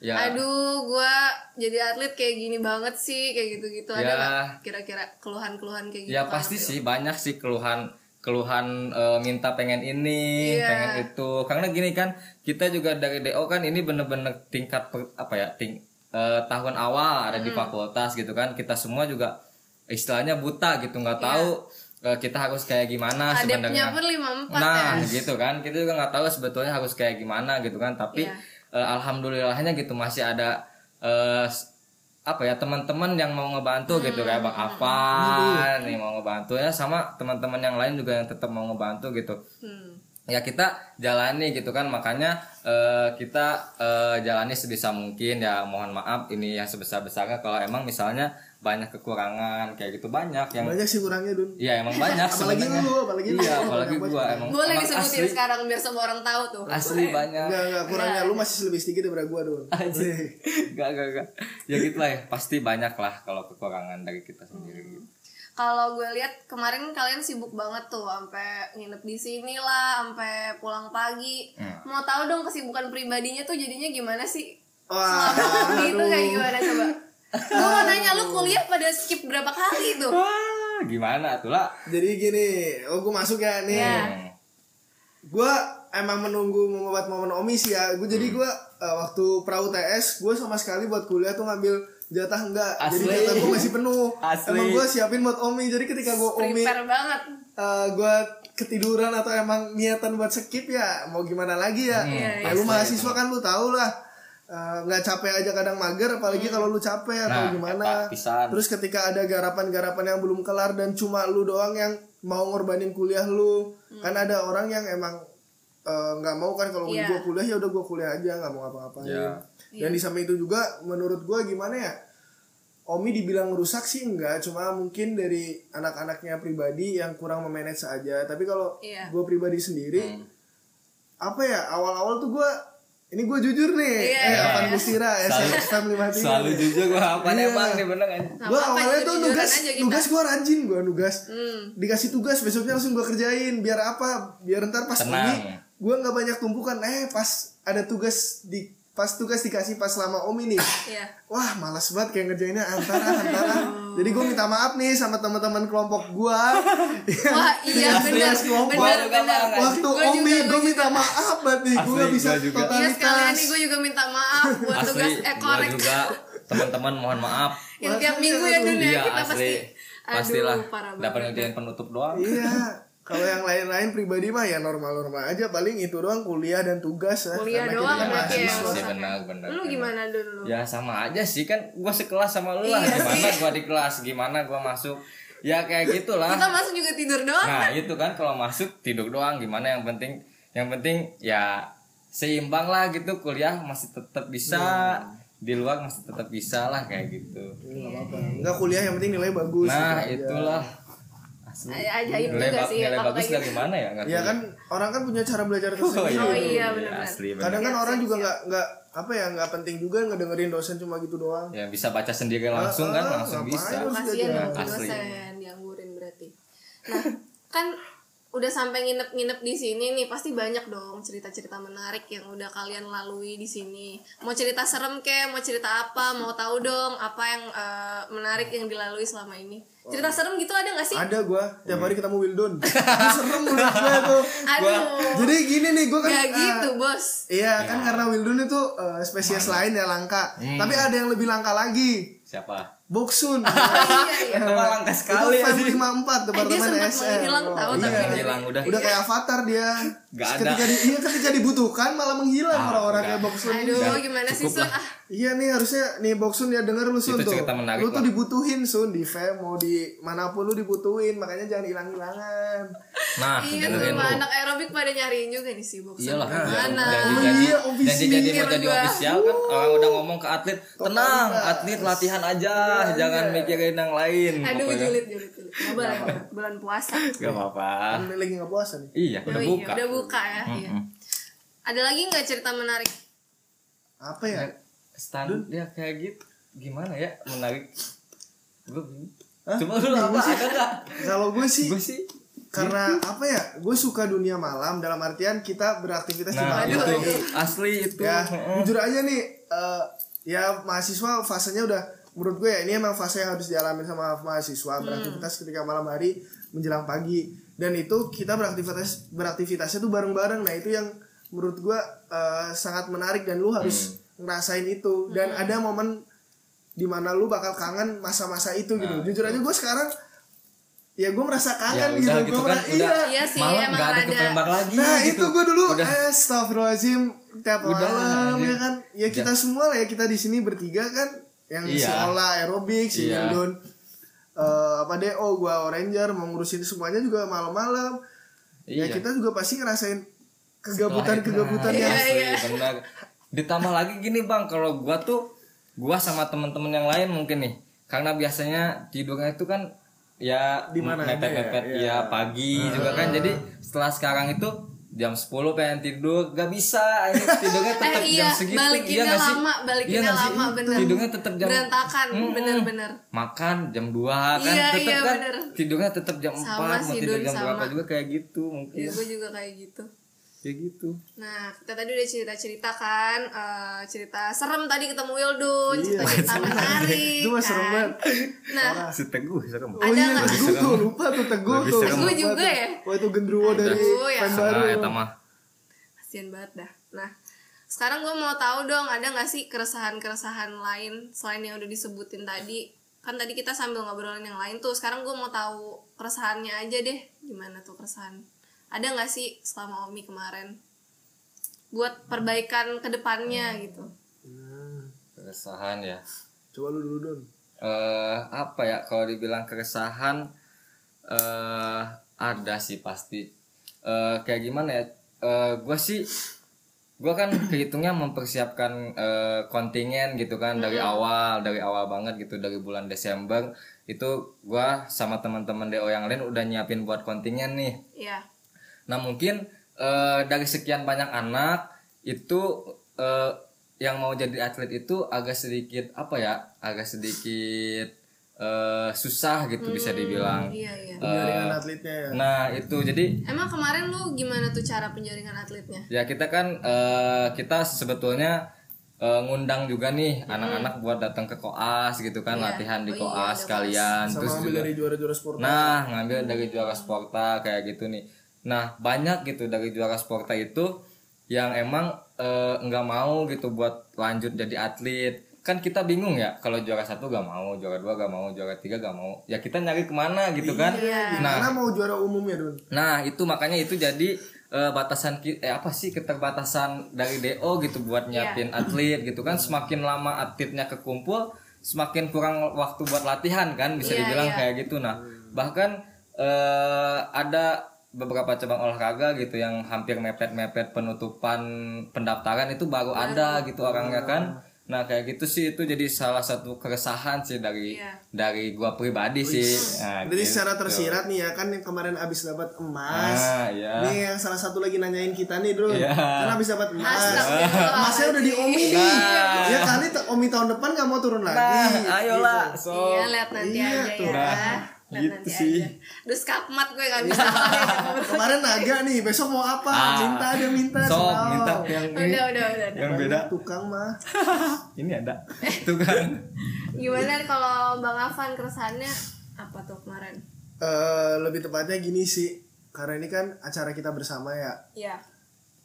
[SPEAKER 2] ya
[SPEAKER 1] aduh gua jadi atlet kayak gini banget sih kayak gitu-gitu ada
[SPEAKER 2] Ya.
[SPEAKER 1] nggak kira-kira keluhan-keluhan kayak gitu ke
[SPEAKER 2] ya
[SPEAKER 1] anak
[SPEAKER 2] pasti
[SPEAKER 1] DO?
[SPEAKER 2] sih banyak sih keluhan keluhan eh, minta pengen ini
[SPEAKER 1] Iya.
[SPEAKER 2] pengen itu karena gini kan kita juga dari do kan ini bener-bener tingkat per- apa ya ting eh, tahun awal ada
[SPEAKER 1] Hmm.
[SPEAKER 2] di fakultas gitu kan kita semua juga istilahnya buta gitu nggak tahu eh, kita harus kayak gimana
[SPEAKER 1] Iya. adepnya
[SPEAKER 2] sebenarnya
[SPEAKER 1] pun lima empat
[SPEAKER 2] nah
[SPEAKER 1] ya
[SPEAKER 2] gitu kan kita juga nggak tahu sebetulnya harus kayak gimana gitu kan tapi
[SPEAKER 1] Iya.
[SPEAKER 2] eh, alhamdulillahnya gitu masih ada eh, s- apa ya teman-teman yang mau ngebantu
[SPEAKER 3] Hmm.
[SPEAKER 2] gitu kayak bang Afan
[SPEAKER 3] Iya.
[SPEAKER 2] nih mau ngebantu ya sama teman-teman yang lain juga yang tetap mau ngebantu gitu
[SPEAKER 1] Hmm.
[SPEAKER 2] ya kita jalani gitu kan makanya eh, kita eh, jalani sebisa mungkin ya mohon maaf ini yang sebesar besarnya kalau emang misalnya banyak kekurangan kayak gitu banyak yang
[SPEAKER 3] Banyak sih kurangnya Dun.
[SPEAKER 2] Iya emang banyak
[SPEAKER 3] Apalagi
[SPEAKER 2] sebenarnya.
[SPEAKER 3] lu, apalagi lu.
[SPEAKER 2] Iya, apalagi
[SPEAKER 3] Banyak
[SPEAKER 2] gua
[SPEAKER 3] banget.
[SPEAKER 2] emang.
[SPEAKER 1] boleh
[SPEAKER 2] emang
[SPEAKER 1] disebutin
[SPEAKER 2] Nah, asli,
[SPEAKER 1] sekarang biar semua orang tahu tuh
[SPEAKER 2] Asli banyak.
[SPEAKER 3] Enggak, enggak. Kurangnya lu masih lebih sedikit daripada gue Dun.
[SPEAKER 2] Iya. Enggak, enggak, enggak. Ya gitu lah ya, pasti banyak lah kalau kekurangan dari kita sendiri.
[SPEAKER 1] kalau gue lihat kemarin kalian sibuk banget tuh sampai nginep di sini lah sampai pulang pagi
[SPEAKER 2] Hmm.
[SPEAKER 1] mau tahu dong kesibukan pribadinya tuh jadinya gimana sih
[SPEAKER 3] Wah,
[SPEAKER 1] gitu kayak gimana coba gue mau nanya lu kuliah pada skip berapa kali tuh
[SPEAKER 2] Wah, gimana tuh lah?
[SPEAKER 3] Jadi gini, oh gue masuk ya nih.
[SPEAKER 1] Iya.
[SPEAKER 2] Hmm.
[SPEAKER 3] Gue emang menunggu membuat momen omis ya. Gue jadi
[SPEAKER 2] Hmm.
[SPEAKER 3] gue eh, waktu pra UTS gue sama sekali buat kuliah tuh ngambil jatah enggak.
[SPEAKER 2] Asli.
[SPEAKER 3] Jadi jatah gue masih penuh.
[SPEAKER 2] Asli.
[SPEAKER 3] Emang gue siapin buat omi. Jadi ketika gue omi
[SPEAKER 1] prepare banget
[SPEAKER 3] eh, gue ketiduran atau emang niatan buat skip ya mau gimana lagi ya.
[SPEAKER 2] Iya,
[SPEAKER 3] Ya, lu mahasiswa kan lu tau lah. Eh, nggak capek aja kadang mager apalagi kalau lu capek atau
[SPEAKER 2] Nah,
[SPEAKER 3] gimana
[SPEAKER 2] eta pisan.
[SPEAKER 3] terus ketika ada garapan-garapan yang belum kelar dan cuma lu doang yang mau ngorbanin kuliah lu
[SPEAKER 2] Hmm.
[SPEAKER 3] kan ada orang yang emang eh, nggak mau kan kalau
[SPEAKER 1] Iya.
[SPEAKER 3] gua kuliah ya udah gua kuliah aja nggak mau ngapa-ngapain
[SPEAKER 2] Iya.
[SPEAKER 3] dan di samping itu juga menurut gua gimana ya Omi dibilang rusak sih enggak, cuma mungkin dari anak-anaknya pribadi yang kurang memanage aja. Tapi kalau
[SPEAKER 1] Iya.
[SPEAKER 3] gue pribadi sendiri, apa ya awal-awal tuh gue, ini gue jujur nih,
[SPEAKER 1] Iya,
[SPEAKER 3] eh
[SPEAKER 1] iya,
[SPEAKER 3] Afan
[SPEAKER 1] iya.
[SPEAKER 3] Gustira, SFM 53.
[SPEAKER 2] Selalu jujur gua apa
[SPEAKER 3] Iya.
[SPEAKER 2] emang nih bener kan?
[SPEAKER 1] Nggak
[SPEAKER 3] Gue
[SPEAKER 1] apa-apa,
[SPEAKER 3] awalnya
[SPEAKER 1] jadi
[SPEAKER 3] tuh
[SPEAKER 1] jujuran
[SPEAKER 3] nugas,
[SPEAKER 1] aja kita.
[SPEAKER 3] nugas gue rajin gue nugas.
[SPEAKER 1] hmm.
[SPEAKER 3] Dikasih tugas besoknya langsung gue kerjain, biar apa? Biar ntar pas
[SPEAKER 2] Tenang.
[SPEAKER 3] Omi gue nggak banyak tumpukan. Eh pas ada tugas di pas tugas dikasih pas lama Omi nih.
[SPEAKER 1] Iya.
[SPEAKER 3] Wah malas banget kayak ngerjainnya Ah, antara antara. Jadi gue minta maaf nih sama teman-teman kelompok gue.
[SPEAKER 1] Wah, iya benar.
[SPEAKER 3] Kelas kelompok.
[SPEAKER 1] Benar, benar.
[SPEAKER 3] Waktu
[SPEAKER 1] Gua juga,
[SPEAKER 3] Omi
[SPEAKER 1] gua
[SPEAKER 3] gue minta maaf banget nih, gue
[SPEAKER 2] Asli,
[SPEAKER 3] nggak bisa
[SPEAKER 2] gua juga.
[SPEAKER 1] Iya sekalian
[SPEAKER 3] totalitas.
[SPEAKER 1] nih gue juga minta maaf buat
[SPEAKER 2] Asli,
[SPEAKER 1] tugas eh
[SPEAKER 2] gua
[SPEAKER 1] korek
[SPEAKER 2] juga teman-teman mohon maaf.
[SPEAKER 1] yang tiap minggu ya dunia
[SPEAKER 2] Iya,
[SPEAKER 1] kita pasti
[SPEAKER 2] asli.
[SPEAKER 1] aduh
[SPEAKER 2] Pastilah
[SPEAKER 1] parah
[SPEAKER 2] dapat
[SPEAKER 1] banget.
[SPEAKER 2] ngerjain penutup doang.
[SPEAKER 3] Iya. Kalau yang lain-lain pribadi mah ya normal-normal aja paling itu doang kuliah dan tugas ya.
[SPEAKER 1] Kuliah
[SPEAKER 3] Karena
[SPEAKER 1] doang
[SPEAKER 3] kita
[SPEAKER 1] berarti
[SPEAKER 3] mahasiswa.
[SPEAKER 1] ya,
[SPEAKER 2] Iya,
[SPEAKER 1] bosannya.
[SPEAKER 2] benar, benar,
[SPEAKER 1] Lu
[SPEAKER 2] benar.
[SPEAKER 1] gimana dulu?
[SPEAKER 2] Ya sama aja sih kan gua sekelas sama lu lah.
[SPEAKER 1] Iya
[SPEAKER 2] Gimana
[SPEAKER 1] sih.
[SPEAKER 2] gua di kelas, gimana gua masuk. Ya kayak gitulah.
[SPEAKER 1] Kita masuk juga tidur doang.
[SPEAKER 2] Nah itu kan kalau masuk tidur doang gimana yang penting
[SPEAKER 3] Iya.
[SPEAKER 2] yang penting ya seimbang lah gitu kuliah masih tetap bisa di luar masih tetap bisa lah kayak gitu
[SPEAKER 3] Nggak apa-apa. Nggak kuliah yang penting nilai bagus.
[SPEAKER 2] nah
[SPEAKER 3] gitu aja.
[SPEAKER 2] itulah Asli.
[SPEAKER 1] Ay- ajaib
[SPEAKER 2] nilai,
[SPEAKER 1] juga
[SPEAKER 2] ba-
[SPEAKER 1] sih
[SPEAKER 2] nilai
[SPEAKER 1] kalau
[SPEAKER 2] bagus
[SPEAKER 1] kayak gitu.
[SPEAKER 2] lah gimana ya nggak
[SPEAKER 3] Ya
[SPEAKER 2] tahu.
[SPEAKER 3] kan orang kan punya cara belajar
[SPEAKER 2] oh
[SPEAKER 3] tersendiri.
[SPEAKER 2] iya,
[SPEAKER 1] Oh, iya, benar-benar.
[SPEAKER 2] asli benar
[SPEAKER 3] Kadang kan orang juga nggak nggak apa ya nggak penting juga nggak dengerin dosen cuma gitu doang.
[SPEAKER 2] ya bisa baca sendiri langsung kan
[SPEAKER 3] Ah,
[SPEAKER 2] langsung
[SPEAKER 3] ngapain
[SPEAKER 2] bisa
[SPEAKER 3] lu sih
[SPEAKER 1] kasihan
[SPEAKER 3] aja?
[SPEAKER 1] dong
[SPEAKER 2] Asli.
[SPEAKER 1] dosen dianggurin berarti nah kan udah sampai nginep-nginep di sini nih pasti banyak dong cerita-cerita menarik yang udah kalian lalui di sini mau cerita serem ke mau cerita apa mau tahu dong apa yang eh, menarik yang dilalui selama ini cerita serem gitu ada nggak sih
[SPEAKER 3] Ada gua tiap
[SPEAKER 2] Hmm.
[SPEAKER 3] hari ketemu Wildon. Itu serem menurut gua tuh.
[SPEAKER 1] aduh
[SPEAKER 3] Jadi gini nih gua kan
[SPEAKER 1] nggak
[SPEAKER 3] ah,
[SPEAKER 1] gitu bos
[SPEAKER 3] Iya, kan karena Wildun itu eh, spesies lain ya langka.
[SPEAKER 2] Iya.
[SPEAKER 3] Tapi ada yang lebih langka lagi.
[SPEAKER 2] siapa
[SPEAKER 3] Boksun.
[SPEAKER 1] Iya, iya.
[SPEAKER 2] itu mah langka sekali
[SPEAKER 3] itu
[SPEAKER 2] asli.
[SPEAKER 3] family
[SPEAKER 1] Eh,
[SPEAKER 3] 54
[SPEAKER 1] dia sempat
[SPEAKER 3] teman-teman SR.
[SPEAKER 1] menghilang
[SPEAKER 3] Oh,
[SPEAKER 1] tahu
[SPEAKER 3] iya.
[SPEAKER 1] tapi
[SPEAKER 2] hilang udah
[SPEAKER 3] Udah kayak avatar dia.
[SPEAKER 2] Nggak ada.
[SPEAKER 3] Ketika di, iya, ketika dibutuhkan malah menghilang
[SPEAKER 2] Ah,
[SPEAKER 3] orang-orang
[SPEAKER 2] udah.
[SPEAKER 3] kayak Boksun. ini.
[SPEAKER 1] aduh gimana sih
[SPEAKER 2] cukup
[SPEAKER 1] sun
[SPEAKER 2] lah.
[SPEAKER 1] ah
[SPEAKER 3] Iya nih harusnya nih Boksun ya denger lu Sun
[SPEAKER 2] Itu
[SPEAKER 3] tuh.
[SPEAKER 2] cerita menarik
[SPEAKER 3] Lu tuh
[SPEAKER 2] lah.
[SPEAKER 3] dibutuhin Sun di fam mau di manapun lu dibutuhin makanya jangan hilang-hilangan.
[SPEAKER 2] nah
[SPEAKER 1] iya
[SPEAKER 2] dengerin
[SPEAKER 1] semua
[SPEAKER 2] lu
[SPEAKER 1] anak aerobik pada nyariin juga nih si boksen
[SPEAKER 2] Iyalah,
[SPEAKER 1] mana
[SPEAKER 2] janji-janji
[SPEAKER 3] Iya, official.
[SPEAKER 2] janji-janji mau jadi
[SPEAKER 1] Mikir gua.
[SPEAKER 2] official kan orang udah ngomong ke atlet, tenang, atlet latihan aja, jangan mikirin yang lain.
[SPEAKER 1] aduh
[SPEAKER 2] Pokoknya.
[SPEAKER 1] julid julid julid nggak boleh nggak boleh. bulan puasa
[SPEAKER 2] Gak apa-apa.
[SPEAKER 3] Kan lagi nggak puasa nih.
[SPEAKER 2] Iya, udah
[SPEAKER 1] Yoi,
[SPEAKER 2] buka.
[SPEAKER 1] Oh, udah buka ya iya. ada lagi nggak cerita menarik
[SPEAKER 3] Apa ya?
[SPEAKER 2] Standar Eh, ya kayak gitu. Gimana ya? Menarik. Gue bingung. Cuma lu apa ada enggak?
[SPEAKER 3] Kalau gue sih
[SPEAKER 2] Gue sih
[SPEAKER 3] karena apa ya gue suka dunia malam dalam artian kita beraktivitas di
[SPEAKER 2] Nah,
[SPEAKER 3] malam
[SPEAKER 2] itu asli itu.
[SPEAKER 3] ya
[SPEAKER 2] gitu. Heeh.
[SPEAKER 3] jujur aja nih eh, ya mahasiswa fasenya udah menurut gue ya ini emang fase yang harus dialami sama mahasiswa
[SPEAKER 2] Hmm.
[SPEAKER 3] beraktivitas ketika malam hari menjelang pagi dan itu kita beraktivitas beraktivitasnya tuh bareng-bareng nah itu yang menurut gue eh, sangat menarik dan lu harus
[SPEAKER 2] Hmm.
[SPEAKER 3] ngerasain itu dan ada momen dimana lu bakal kangen masa-masa itu gitu jujur aja gue sekarang ya gue merasa
[SPEAKER 2] Nah, Ya udah
[SPEAKER 3] kangen gitu,
[SPEAKER 2] gitu
[SPEAKER 3] Gua
[SPEAKER 2] kan
[SPEAKER 3] merasa-
[SPEAKER 2] udah
[SPEAKER 1] Iya sih,
[SPEAKER 2] malam
[SPEAKER 1] emang
[SPEAKER 2] nggak ada
[SPEAKER 1] ada.
[SPEAKER 2] ketembak lagi
[SPEAKER 3] Nah
[SPEAKER 2] gitu.
[SPEAKER 3] itu gue dulu
[SPEAKER 2] udah
[SPEAKER 3] Astagfirullahaladzim Tiap
[SPEAKER 2] Udah,
[SPEAKER 3] malam
[SPEAKER 2] anjir.
[SPEAKER 3] ya kan Ya kita semua lah ya Kita di sini bertiga kan Yang si
[SPEAKER 2] Iya.
[SPEAKER 3] Ola aerobik Si
[SPEAKER 2] Iya.
[SPEAKER 3] Yudon eh, Apa deh Oh gue Oranger Mau ngurusin semuanya juga malam-malam Ya
[SPEAKER 2] Iya.
[SPEAKER 3] kita juga pasti ngerasain Kegabutan-kegabutan
[SPEAKER 2] Iya,
[SPEAKER 3] yang
[SPEAKER 2] iya. benar. Ditambah lagi gini bang, kalau gua tuh gua sama temen-temen yang lain mungkin nih, karena biasanya tidurnya itu kan ya
[SPEAKER 3] Di mana Iya. aja
[SPEAKER 2] mepet-mepet ya, pagi
[SPEAKER 3] Ah.
[SPEAKER 2] juga kan, jadi setelah sekarang itu jam 10 pengen tidur gak bisa ini tidurnya tetap
[SPEAKER 1] eh iya
[SPEAKER 2] jam segitu
[SPEAKER 1] balikinnya
[SPEAKER 2] nggak sih? Iya
[SPEAKER 1] lama balikinnya
[SPEAKER 2] nggak sih?
[SPEAKER 1] lama bener
[SPEAKER 2] tidurnya tetap jam
[SPEAKER 1] berantakan
[SPEAKER 2] Mm-mm.
[SPEAKER 1] bener-bener
[SPEAKER 2] makan jam 2 kan
[SPEAKER 1] Iya,
[SPEAKER 2] tetap
[SPEAKER 1] iya,
[SPEAKER 2] kan
[SPEAKER 1] bener.
[SPEAKER 2] tidurnya tetap jam
[SPEAKER 1] Sama
[SPEAKER 2] 4 mau
[SPEAKER 1] sih,
[SPEAKER 2] tidur
[SPEAKER 1] Dun,
[SPEAKER 2] jam
[SPEAKER 1] sama.
[SPEAKER 2] berapa juga kayak gitu mungkin
[SPEAKER 3] Iya.
[SPEAKER 1] ya, gue juga kayak gitu
[SPEAKER 2] kayak gitu
[SPEAKER 1] Nah, kita tadi udah cerita-cerita kan, eh, cerita serem tadi ketemu Wildun, cerita-cerita menarik.
[SPEAKER 3] Iya. Itu mah serem
[SPEAKER 1] kan.
[SPEAKER 3] banget.
[SPEAKER 1] Nah,
[SPEAKER 2] si teguh serem
[SPEAKER 3] Oh
[SPEAKER 1] Ada
[SPEAKER 3] iya
[SPEAKER 1] nggak?
[SPEAKER 3] Teguh tuh Lupa tuh Teguh
[SPEAKER 2] Lebih
[SPEAKER 3] tuh
[SPEAKER 2] serem.
[SPEAKER 1] Teguh
[SPEAKER 3] Lupa
[SPEAKER 1] juga
[SPEAKER 3] tuh.
[SPEAKER 1] ya?
[SPEAKER 3] Wah itu gendruwo Oh, dari
[SPEAKER 1] Teguh ya.
[SPEAKER 3] fan baru
[SPEAKER 2] Nah, eta mah
[SPEAKER 1] kasihan banget dah. Nah, sekarang gue mau tahu dong, ada nggak sih keresahan-keresahan lain selain yang udah disebutin tadi? Kan tadi kita sambil ngobrolin yang lain tuh, sekarang gue mau tahu keresahannya aja deh, gimana tuh keresahan? Ada nggak sih selama Omi kemarin? Buat perbaikan kedepannya gitu.
[SPEAKER 2] keresahan ya
[SPEAKER 3] Coba lu dulu Don
[SPEAKER 2] eh apa ya kalau dibilang keresahan eh ada sih pasti eh kayak gimana ya eh gue sih gue kan kehitungnya mempersiapkan eh, kontingen gitu kan dari awal dari awal banget gitu dari bulan Desember itu gue sama teman-teman DO yang lain udah nyiapin buat kontingen nih
[SPEAKER 1] Iya.
[SPEAKER 2] Nah mungkin eh, dari sekian banyak anak itu eh, yang mau jadi atlet itu agak sedikit apa ya agak sedikit eh, susah gitu bisa dibilang. Eh,
[SPEAKER 1] Iya, iya.
[SPEAKER 3] Penjaringan atletnya ya
[SPEAKER 2] Nah itu jadi
[SPEAKER 1] Emang kemarin lu gimana tuh cara penjaringan atletnya?
[SPEAKER 2] ya kita kan eh, kita sebetulnya eh, ngundang juga nih
[SPEAKER 1] Hmm.
[SPEAKER 2] anak-anak buat datang ke koas gitu
[SPEAKER 1] Iya.
[SPEAKER 2] kan latihan
[SPEAKER 1] Oh
[SPEAKER 2] di koas kalian terus
[SPEAKER 3] Sama ambil
[SPEAKER 2] juga-
[SPEAKER 3] dari juara-juara sport
[SPEAKER 2] Nah, ngambil dari juara Sporta kayak gitu nih. Nah, banyak gitu dari juara Sporta itu yang emang eh, nggak mau gitu buat lanjut jadi atlet. Kan kita bingung ya, kalau juara satu gak mau, juara dua gak mau, juara tiga gak mau. Ya kita nyari kemana gitu kan? Nah,
[SPEAKER 3] Karena mau juara umum ya Don
[SPEAKER 2] Nah, itu makanya itu jadi eh, batasan ki- eh apa sih keterbatasan dari DO gitu buat nyiapin atlet gitu kan semakin lama atletnya kekumpul semakin kurang waktu buat latihan kan bisa dibilang kayak gitu. Nah, bahkan eh ada beberapa cabang olahraga gitu yang hampir mepet-mepet penutupan pendaftaran itu baru ada gitu orangnya kan. Nah kayak gitu sih itu jadi salah satu keresahan sih dari
[SPEAKER 1] Iya.
[SPEAKER 2] dari gua pribadi sih. Nah,
[SPEAKER 3] Jadi
[SPEAKER 2] gitu.
[SPEAKER 3] secara tersirat nih ya kan yang kemarin abis dapat emas.
[SPEAKER 2] Ah, iya.
[SPEAKER 3] Nih yang salah satu lagi nanyain kita nih, Bro.
[SPEAKER 2] Iya.
[SPEAKER 3] Kan abis dapat emas.
[SPEAKER 1] Astagfirullahaladzim.
[SPEAKER 3] Emasnya udah di Omi nih. Ya kali te- Omi tahun depan gak mau turun lagi.
[SPEAKER 2] Nah, ayolah. So,
[SPEAKER 1] iya lihat nanti
[SPEAKER 3] iya
[SPEAKER 1] aja
[SPEAKER 3] tuh.
[SPEAKER 1] ya
[SPEAKER 2] Nah,
[SPEAKER 1] Lihat nanti
[SPEAKER 2] gitu sih.
[SPEAKER 1] aja. Aduh skakmat gue gak bisa
[SPEAKER 3] Kemarin naga nih, besok mau apa?
[SPEAKER 2] Ah.
[SPEAKER 3] Minta dia minta.
[SPEAKER 2] so
[SPEAKER 3] selalu.
[SPEAKER 2] minta yang ini,
[SPEAKER 1] Udah udah udah
[SPEAKER 2] yang beda.
[SPEAKER 3] Tukang mah.
[SPEAKER 2] Ini ada. Tuh kan.
[SPEAKER 1] Gimana kalau Bang Afan keresahannya apa tuh kemarin?
[SPEAKER 3] Eh, lebih tepatnya gini sih. Karena ini kan acara kita bersama ya.
[SPEAKER 1] Iya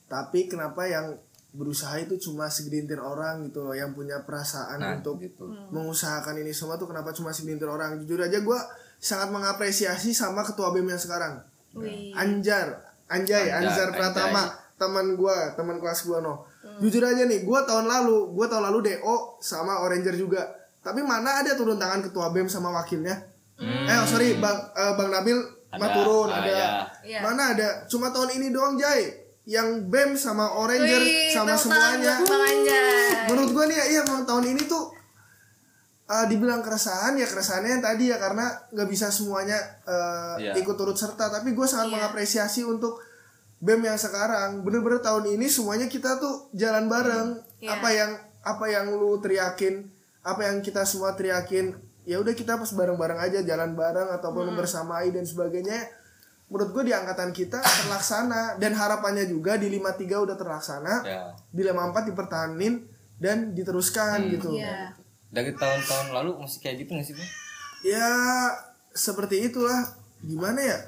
[SPEAKER 3] Tapi kenapa yang berusaha itu cuma segelintir orang gitu loh yang punya perasaan
[SPEAKER 2] Nah,
[SPEAKER 3] untuk
[SPEAKER 2] gitu.
[SPEAKER 1] Hmm.
[SPEAKER 3] mengusahakan ini semua tuh kenapa cuma segelintir orang jujur aja gue sangat mengapresiasi sama ketua bem yang sekarang
[SPEAKER 1] Wih
[SPEAKER 3] Anjar Anjay
[SPEAKER 2] Anjar,
[SPEAKER 3] Anjar Pratama teman gue teman kelas gue no
[SPEAKER 1] Hmm.
[SPEAKER 3] jujur aja nih gue tahun lalu gue tahun lalu do sama oranger juga tapi mana ada turun tangan ketua bem sama wakilnya eh sorry bang eh, bang Nabil mah
[SPEAKER 2] Ada,
[SPEAKER 3] turun
[SPEAKER 2] ah,
[SPEAKER 3] ada
[SPEAKER 1] iya.
[SPEAKER 3] mana ada cuma tahun ini doang Jay yang bem sama oranger
[SPEAKER 1] Wih,
[SPEAKER 3] sama
[SPEAKER 1] tepuk tangan
[SPEAKER 3] semuanya
[SPEAKER 1] buat Bang Anjar
[SPEAKER 3] menurut gue nih ya iya emang tahun ini tuh eh, dibilang keresahan ya keresahannya yang tadi ya karena nggak bisa semuanya
[SPEAKER 2] Iya.
[SPEAKER 3] eh, ikut turut serta tapi gue sangat
[SPEAKER 1] Iya.
[SPEAKER 3] mengapresiasi untuk bem yang sekarang bener-bener tahun ini semuanya kita tuh jalan bareng
[SPEAKER 1] Iya.
[SPEAKER 3] apa yang apa yang lu teriakin apa yang kita semua teriakin ya udah kita pas bareng-bareng aja jalan bareng ataupun
[SPEAKER 1] Hmm.
[SPEAKER 3] bersamai dan sebagainya menurut gue di angkatan kita terlaksana dan harapannya juga di 53 udah terlaksana
[SPEAKER 2] Ya.
[SPEAKER 3] di lima empat dipertahanin dan diteruskan gitu
[SPEAKER 1] Iya
[SPEAKER 2] Dari tahun-tahun lalu masih kayak gitu nggak sih Bang?
[SPEAKER 3] ya seperti itulah gimana ya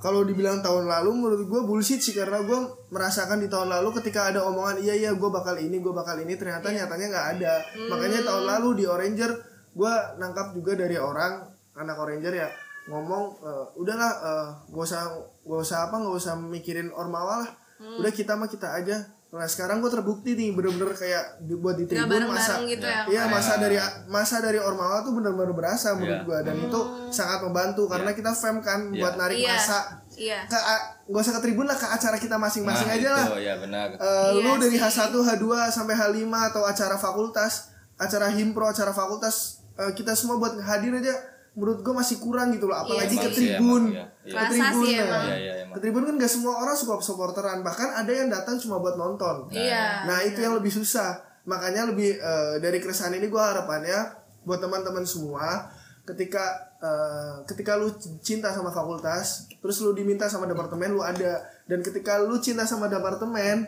[SPEAKER 3] kalau dibilang tahun lalu menurut gue bullshit sih karena gue merasakan di tahun lalu ketika ada omongan iya iya gue bakal ini gue bakal ini ternyata
[SPEAKER 1] Iya.
[SPEAKER 3] nyatanya nggak ada
[SPEAKER 1] Hmm.
[SPEAKER 3] makanya tahun lalu di Oranger gue nangkap juga dari orang anak Oranger ya ngomong "Eh, udahlah eh, gak usah gak usah apa gak usah mikirin ormawa lah
[SPEAKER 1] Hmm.
[SPEAKER 3] udah kita mah kita aja nah sekarang gue terbukti nih bener-bener kayak di- buat di
[SPEAKER 1] Udah
[SPEAKER 3] tribun masa
[SPEAKER 1] bareng-bareng gitu ya
[SPEAKER 3] Iya masa dari masa dari Ormawa tuh benar-benar berasa menurut
[SPEAKER 2] Iya.
[SPEAKER 3] gua dan itu sangat membantu karena kita fam kan
[SPEAKER 2] Iya.
[SPEAKER 3] buat narik
[SPEAKER 1] Iya.
[SPEAKER 3] masa
[SPEAKER 1] Iya
[SPEAKER 3] ke a- gak usah ke tribun lah ke acara kita masing-masing
[SPEAKER 2] Nah,
[SPEAKER 3] aja lah.
[SPEAKER 2] itu, Ya benar.
[SPEAKER 3] Eh,
[SPEAKER 1] Iya
[SPEAKER 3] lu dari H1, H2 sampai H5 atau acara fakultas, acara himpro, acara fakultas eh, kita semua buat hadir aja menurut gua masih kurang gitu loh apalagi
[SPEAKER 2] Iya
[SPEAKER 3] ke
[SPEAKER 2] sih.
[SPEAKER 3] tribun.
[SPEAKER 2] Iya, iya.
[SPEAKER 3] Ke
[SPEAKER 1] Kerasa
[SPEAKER 3] tribun.
[SPEAKER 1] sih
[SPEAKER 3] ya.
[SPEAKER 1] emang.
[SPEAKER 2] Iya, iya, emang.
[SPEAKER 3] Ke tribun kan gak semua orang suka supporteran, bahkan ada yang datang cuma buat nonton.
[SPEAKER 1] Iya
[SPEAKER 3] Nah itu yang lebih susah Makanya lebih eh, dari keresahan ini gue harapannya Buat teman-teman semua Ketika eh, ketika lu cinta sama fakultas Terus lu diminta sama departemen lu ada Dan ketika lu cinta sama departemen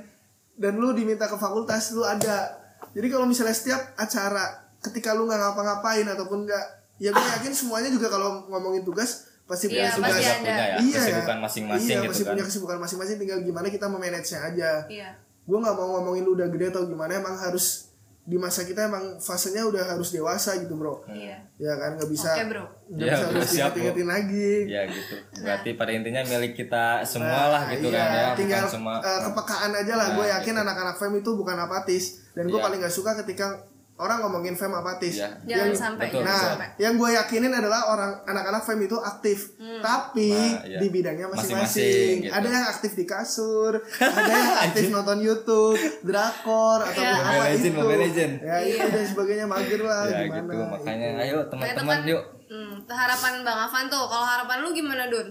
[SPEAKER 3] Dan lu diminta ke fakultas lu ada Jadi kalau misalnya setiap acara Ketika lu nggak ngapa-ngapain ataupun nggak Ya gue yakin semuanya juga kalau ngomongin tugas Pasti punya
[SPEAKER 1] Iya,
[SPEAKER 3] tugas
[SPEAKER 1] pasti ada.
[SPEAKER 2] punya ya,
[SPEAKER 3] Iya
[SPEAKER 2] kesibukan masing-masing
[SPEAKER 3] iya,
[SPEAKER 2] gitu
[SPEAKER 3] pasti
[SPEAKER 2] kan.
[SPEAKER 3] punya kesibukan masing-masing tinggal gimana kita memanage-nya aja
[SPEAKER 1] Iya
[SPEAKER 3] gue nggak mau ngomongin lu udah gede atau gimana emang harus di masa kita emang fasenya udah harus dewasa gitu bro
[SPEAKER 1] Iya
[SPEAKER 3] ya kan nggak bisa
[SPEAKER 1] Oke bro
[SPEAKER 3] nggak
[SPEAKER 2] Iya,
[SPEAKER 3] bisa
[SPEAKER 2] bro,
[SPEAKER 3] harus
[SPEAKER 2] siap, bro.
[SPEAKER 3] diingetin lagi
[SPEAKER 2] Ya gitu. Berarti pada intinya milik kita semua lah gitu
[SPEAKER 3] nah. Iya,
[SPEAKER 2] kan ya,
[SPEAKER 3] tinggal
[SPEAKER 2] bukan cuma Ya, gitu.
[SPEAKER 3] eh, kepekaan aja lah gue yakin anak-anak fem itu bukan apatis dan gue
[SPEAKER 2] Iya.
[SPEAKER 3] paling nggak suka ketika orang ngomongin fem apatis
[SPEAKER 2] Iya.
[SPEAKER 1] Jangan
[SPEAKER 3] Yang-
[SPEAKER 1] sampai
[SPEAKER 2] betul,
[SPEAKER 1] jangan
[SPEAKER 3] nah
[SPEAKER 1] sampai.
[SPEAKER 3] yang gue yakinin adalah orang anak-anak fem itu aktif tapi
[SPEAKER 2] Nah, iya.
[SPEAKER 3] di bidangnya
[SPEAKER 2] Masing-masing,
[SPEAKER 3] masing-masing
[SPEAKER 2] gitu.
[SPEAKER 3] ada yang aktif di kasur ada yang aktif nonton YouTube drakor atau
[SPEAKER 1] Iya.
[SPEAKER 3] apa
[SPEAKER 2] Mobile Legend,
[SPEAKER 3] itu
[SPEAKER 2] Mobile Legend.
[SPEAKER 3] ya itu dan sebagainya mager lah
[SPEAKER 2] ya
[SPEAKER 3] gimana
[SPEAKER 2] gitu. Makanya ayo teman-teman
[SPEAKER 1] Teman-teman,
[SPEAKER 2] yuk.
[SPEAKER 1] hmm, harapan Bang Afan tuh, kalau harapan lu gimana Dun?